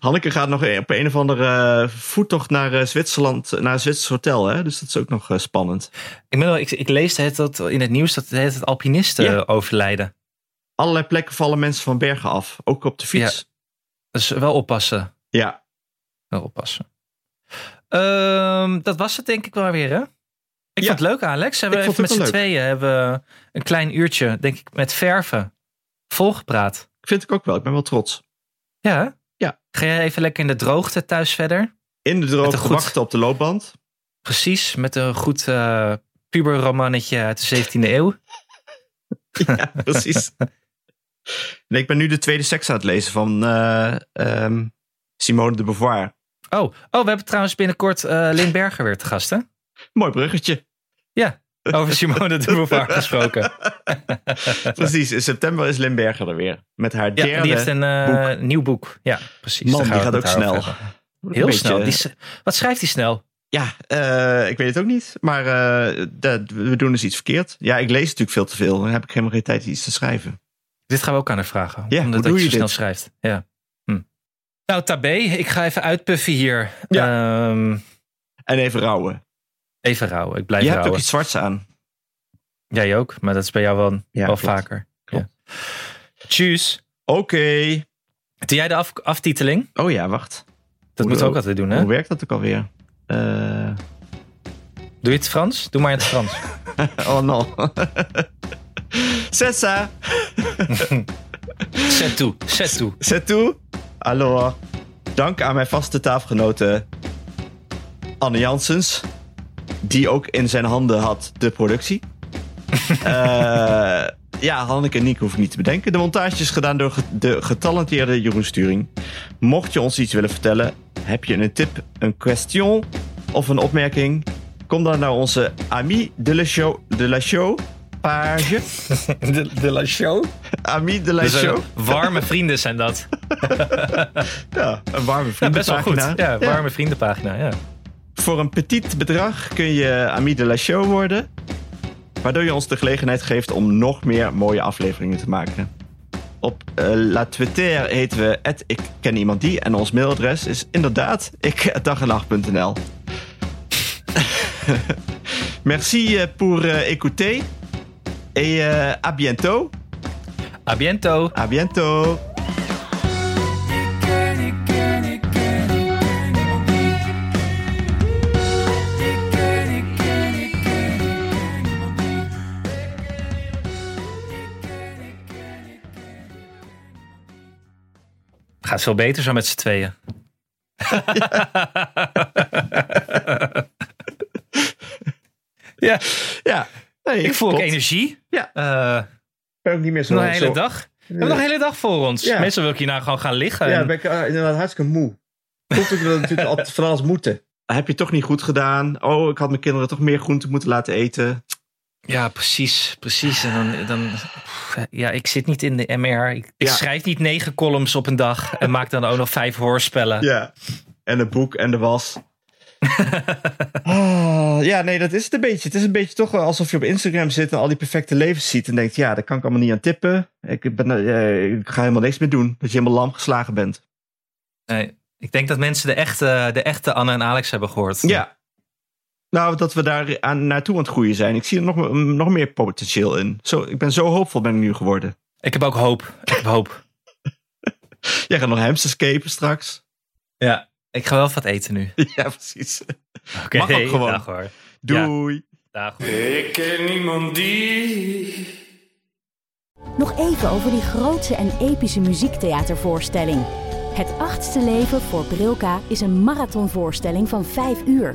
S3: Hanneke gaat nog op een of andere eh, voettocht naar eh, Zwitserland, naar een Zwitsers hotel. Hè? Dus dat is ook nog eh, spannend.
S2: Ik, ben wel, ik, ik lees het dat in het nieuws dat het, het alpinisten
S3: Ja.
S2: overlijden.
S3: Allerlei plekken vallen mensen van bergen af. Ook op de fiets.
S2: Dus wel oppassen.
S3: Ja,
S2: Wel oppassen. Ehm, dat was het denk ik wel weer, hè? Ik
S3: Ja.
S2: vond het leuk, Alex. Hebben
S3: Ik
S2: we
S3: vond
S2: even met
S3: het
S2: z'n
S3: ook leuk.
S2: tweeën hebben we een klein uurtje, denk ik, met verven volgepraat.
S3: vind ik ook wel. Ik ben wel trots.
S2: Ja, hè?
S3: Ja.
S2: Ga jij even lekker in de droogte thuis verder?
S3: In de
S2: Met een
S3: droogte
S2: goed-
S3: wachten op de loopband.
S2: Precies, met een goed eh, puberromannetje uit de 17e eeuw.
S3: Ja, precies. Nee, ik ben nu de tweede seks aan het lezen van eh, ehm, Simone de Beauvoir.
S2: Oh, oh, we hebben trouwens binnenkort eh Lynn Berger weer te gast, hè?
S3: Mooi bruggetje.
S2: Over Simone de Beauvoir gesproken.
S3: Precies, in september is Limberger er weer. Met haar
S2: Ja,
S3: derde.
S2: die heeft een eh, nieuw boek. Ja, precies.
S3: Man,
S2: Daar
S3: die
S2: gaan
S3: gaat
S2: we
S3: ook
S2: het met haar
S3: snel.
S2: over hebben.
S3: Een
S2: Heel
S3: beetje-
S2: snel. Die is- wat schrijft hij snel?
S3: Ja, eh, ik weet het ook niet. Maar eh, dat- we doen dus iets verkeerd. Ja, ik lees natuurlijk veel te veel. Dan heb ik helemaal geen tijd iets te schrijven.
S2: Dit gaan we ook aan haar vragen.
S3: Ja,
S2: omdat dat
S3: hoe doe
S2: je zo
S3: je
S2: snel
S3: dit?
S2: schrijft. Ja. Hm. Nou, Tabé, ik ga even uitpuffen hier. Ehm,
S3: En even rouwen.
S2: even rouwen. Ik blijf
S3: Je hebt ook
S2: rouwen.
S3: iets zwarts aan.
S2: Jij ook, maar dat is bij jou wel,
S3: Ja,
S2: wel
S3: klopt.
S2: vaker.
S3: Klopt.
S2: Ja. Tjus.
S3: Oké.
S2: Doe jij de af- aftiteling?
S3: Oh ja, wacht.
S2: Dat
S3: Hoe
S2: moeten we
S3: dan?
S2: ook altijd doen, hè?
S3: Hoe werkt dat ook alweer? Eh,
S2: Doe je het Frans? Doe maar in het Frans.
S3: oh no. Sessa,
S2: Zet toe. Zet toe.
S3: c'est tout. Alors, dank aan mijn vaste tafelgenote Anne Janssens. Die ook in zijn handen had de productie. Eh, ja, Hanneke en Niek hoef ik niet te bedenken. De montage is gedaan door ge- de getalenteerde Jeroen Sturing. Mocht je ons iets willen vertellen, heb je een tip, een question of een opmerking? Kom dan naar onze Ami de la Show, de la show page.
S2: De, de la show?
S3: Ami de la Show.
S2: Dus, eh, warme vrienden zijn dat.
S3: Ja, een warme
S2: Ja,
S3: vriend.
S2: best wel goed. Ja, warme vriendenpagina. Ja.
S3: Voor een petit bedrag kun je ami de la show worden. Waardoor je ons de gelegenheid geeft om nog meer mooie afleveringen te maken. Op eh, La Twitter heten we ik ken iemand die. En ons mailadres is inderdaad ik@dagenacht.nl. Merci eh, pour eh, écouter. Et eh, à bientôt.
S2: A biento.
S3: À bientôt.
S2: Gaat veel beter zo met z'n tweeën. ja,
S3: Ja. Nee,
S2: ik voel ook
S3: klopt.
S2: energie.
S3: Ja.
S2: Eh,
S3: Ik ben ook niet meer zo.
S2: nog een hele
S3: zo-
S2: dag. We hebben nog een hele dag voor ons.
S3: Ja.
S2: Meestal wil ik hierna gewoon gaan liggen.
S9: Ja,
S2: en-
S9: dan ben ik eh, inderdaad hartstikke moe. Komt ook dat we natuurlijk altijd van alles moeten.
S3: Heb je toch niet goed gedaan? Oh, ik had mijn kinderen toch meer groente moeten laten eten.
S2: Ja, precies. Precies. En dan, dan, pff, ja, ik zit niet in de MR. Ik, ik
S3: Ja.
S2: schrijf niet negen columns op een dag en maak dan ook nog vijf hoorspellen.
S3: Ja. En het boek en de was. Ah, ja, nee, dat is het een beetje. Het is een beetje toch wel alsof je op Instagram zit en al die perfecte levens ziet. En denkt, ja, daar kan ik allemaal niet aan tippen. Ik, ben, eh, ik ga helemaal niks meer doen. Dat je helemaal lam geslagen bent.
S2: Nee, ik denk dat mensen de echte, de echte Anne en Alex hebben gehoord.
S3: Ja. Nou, dat we daar aan, naartoe aan het groeien zijn. Ik zie er nog, nog meer potentieel in. Zo, ik ben zo hoopvol ben ik nu geworden.
S2: Ik heb ook hoop. Ik heb hoop.
S3: Jij gaat nog hamsterscapen straks.
S2: Ja. Ik ga wel wat eten nu.
S3: Ja, precies.
S2: Oké,
S3: Mag ook gewoon.
S2: Dag hoor.
S3: Doei.
S2: Dag hoor.
S7: Ik ken niemand die.
S1: Nog even over die grootse en epische muziektheatervoorstelling. Het achtste leven voor Brilka is een marathonvoorstelling van 5 uur.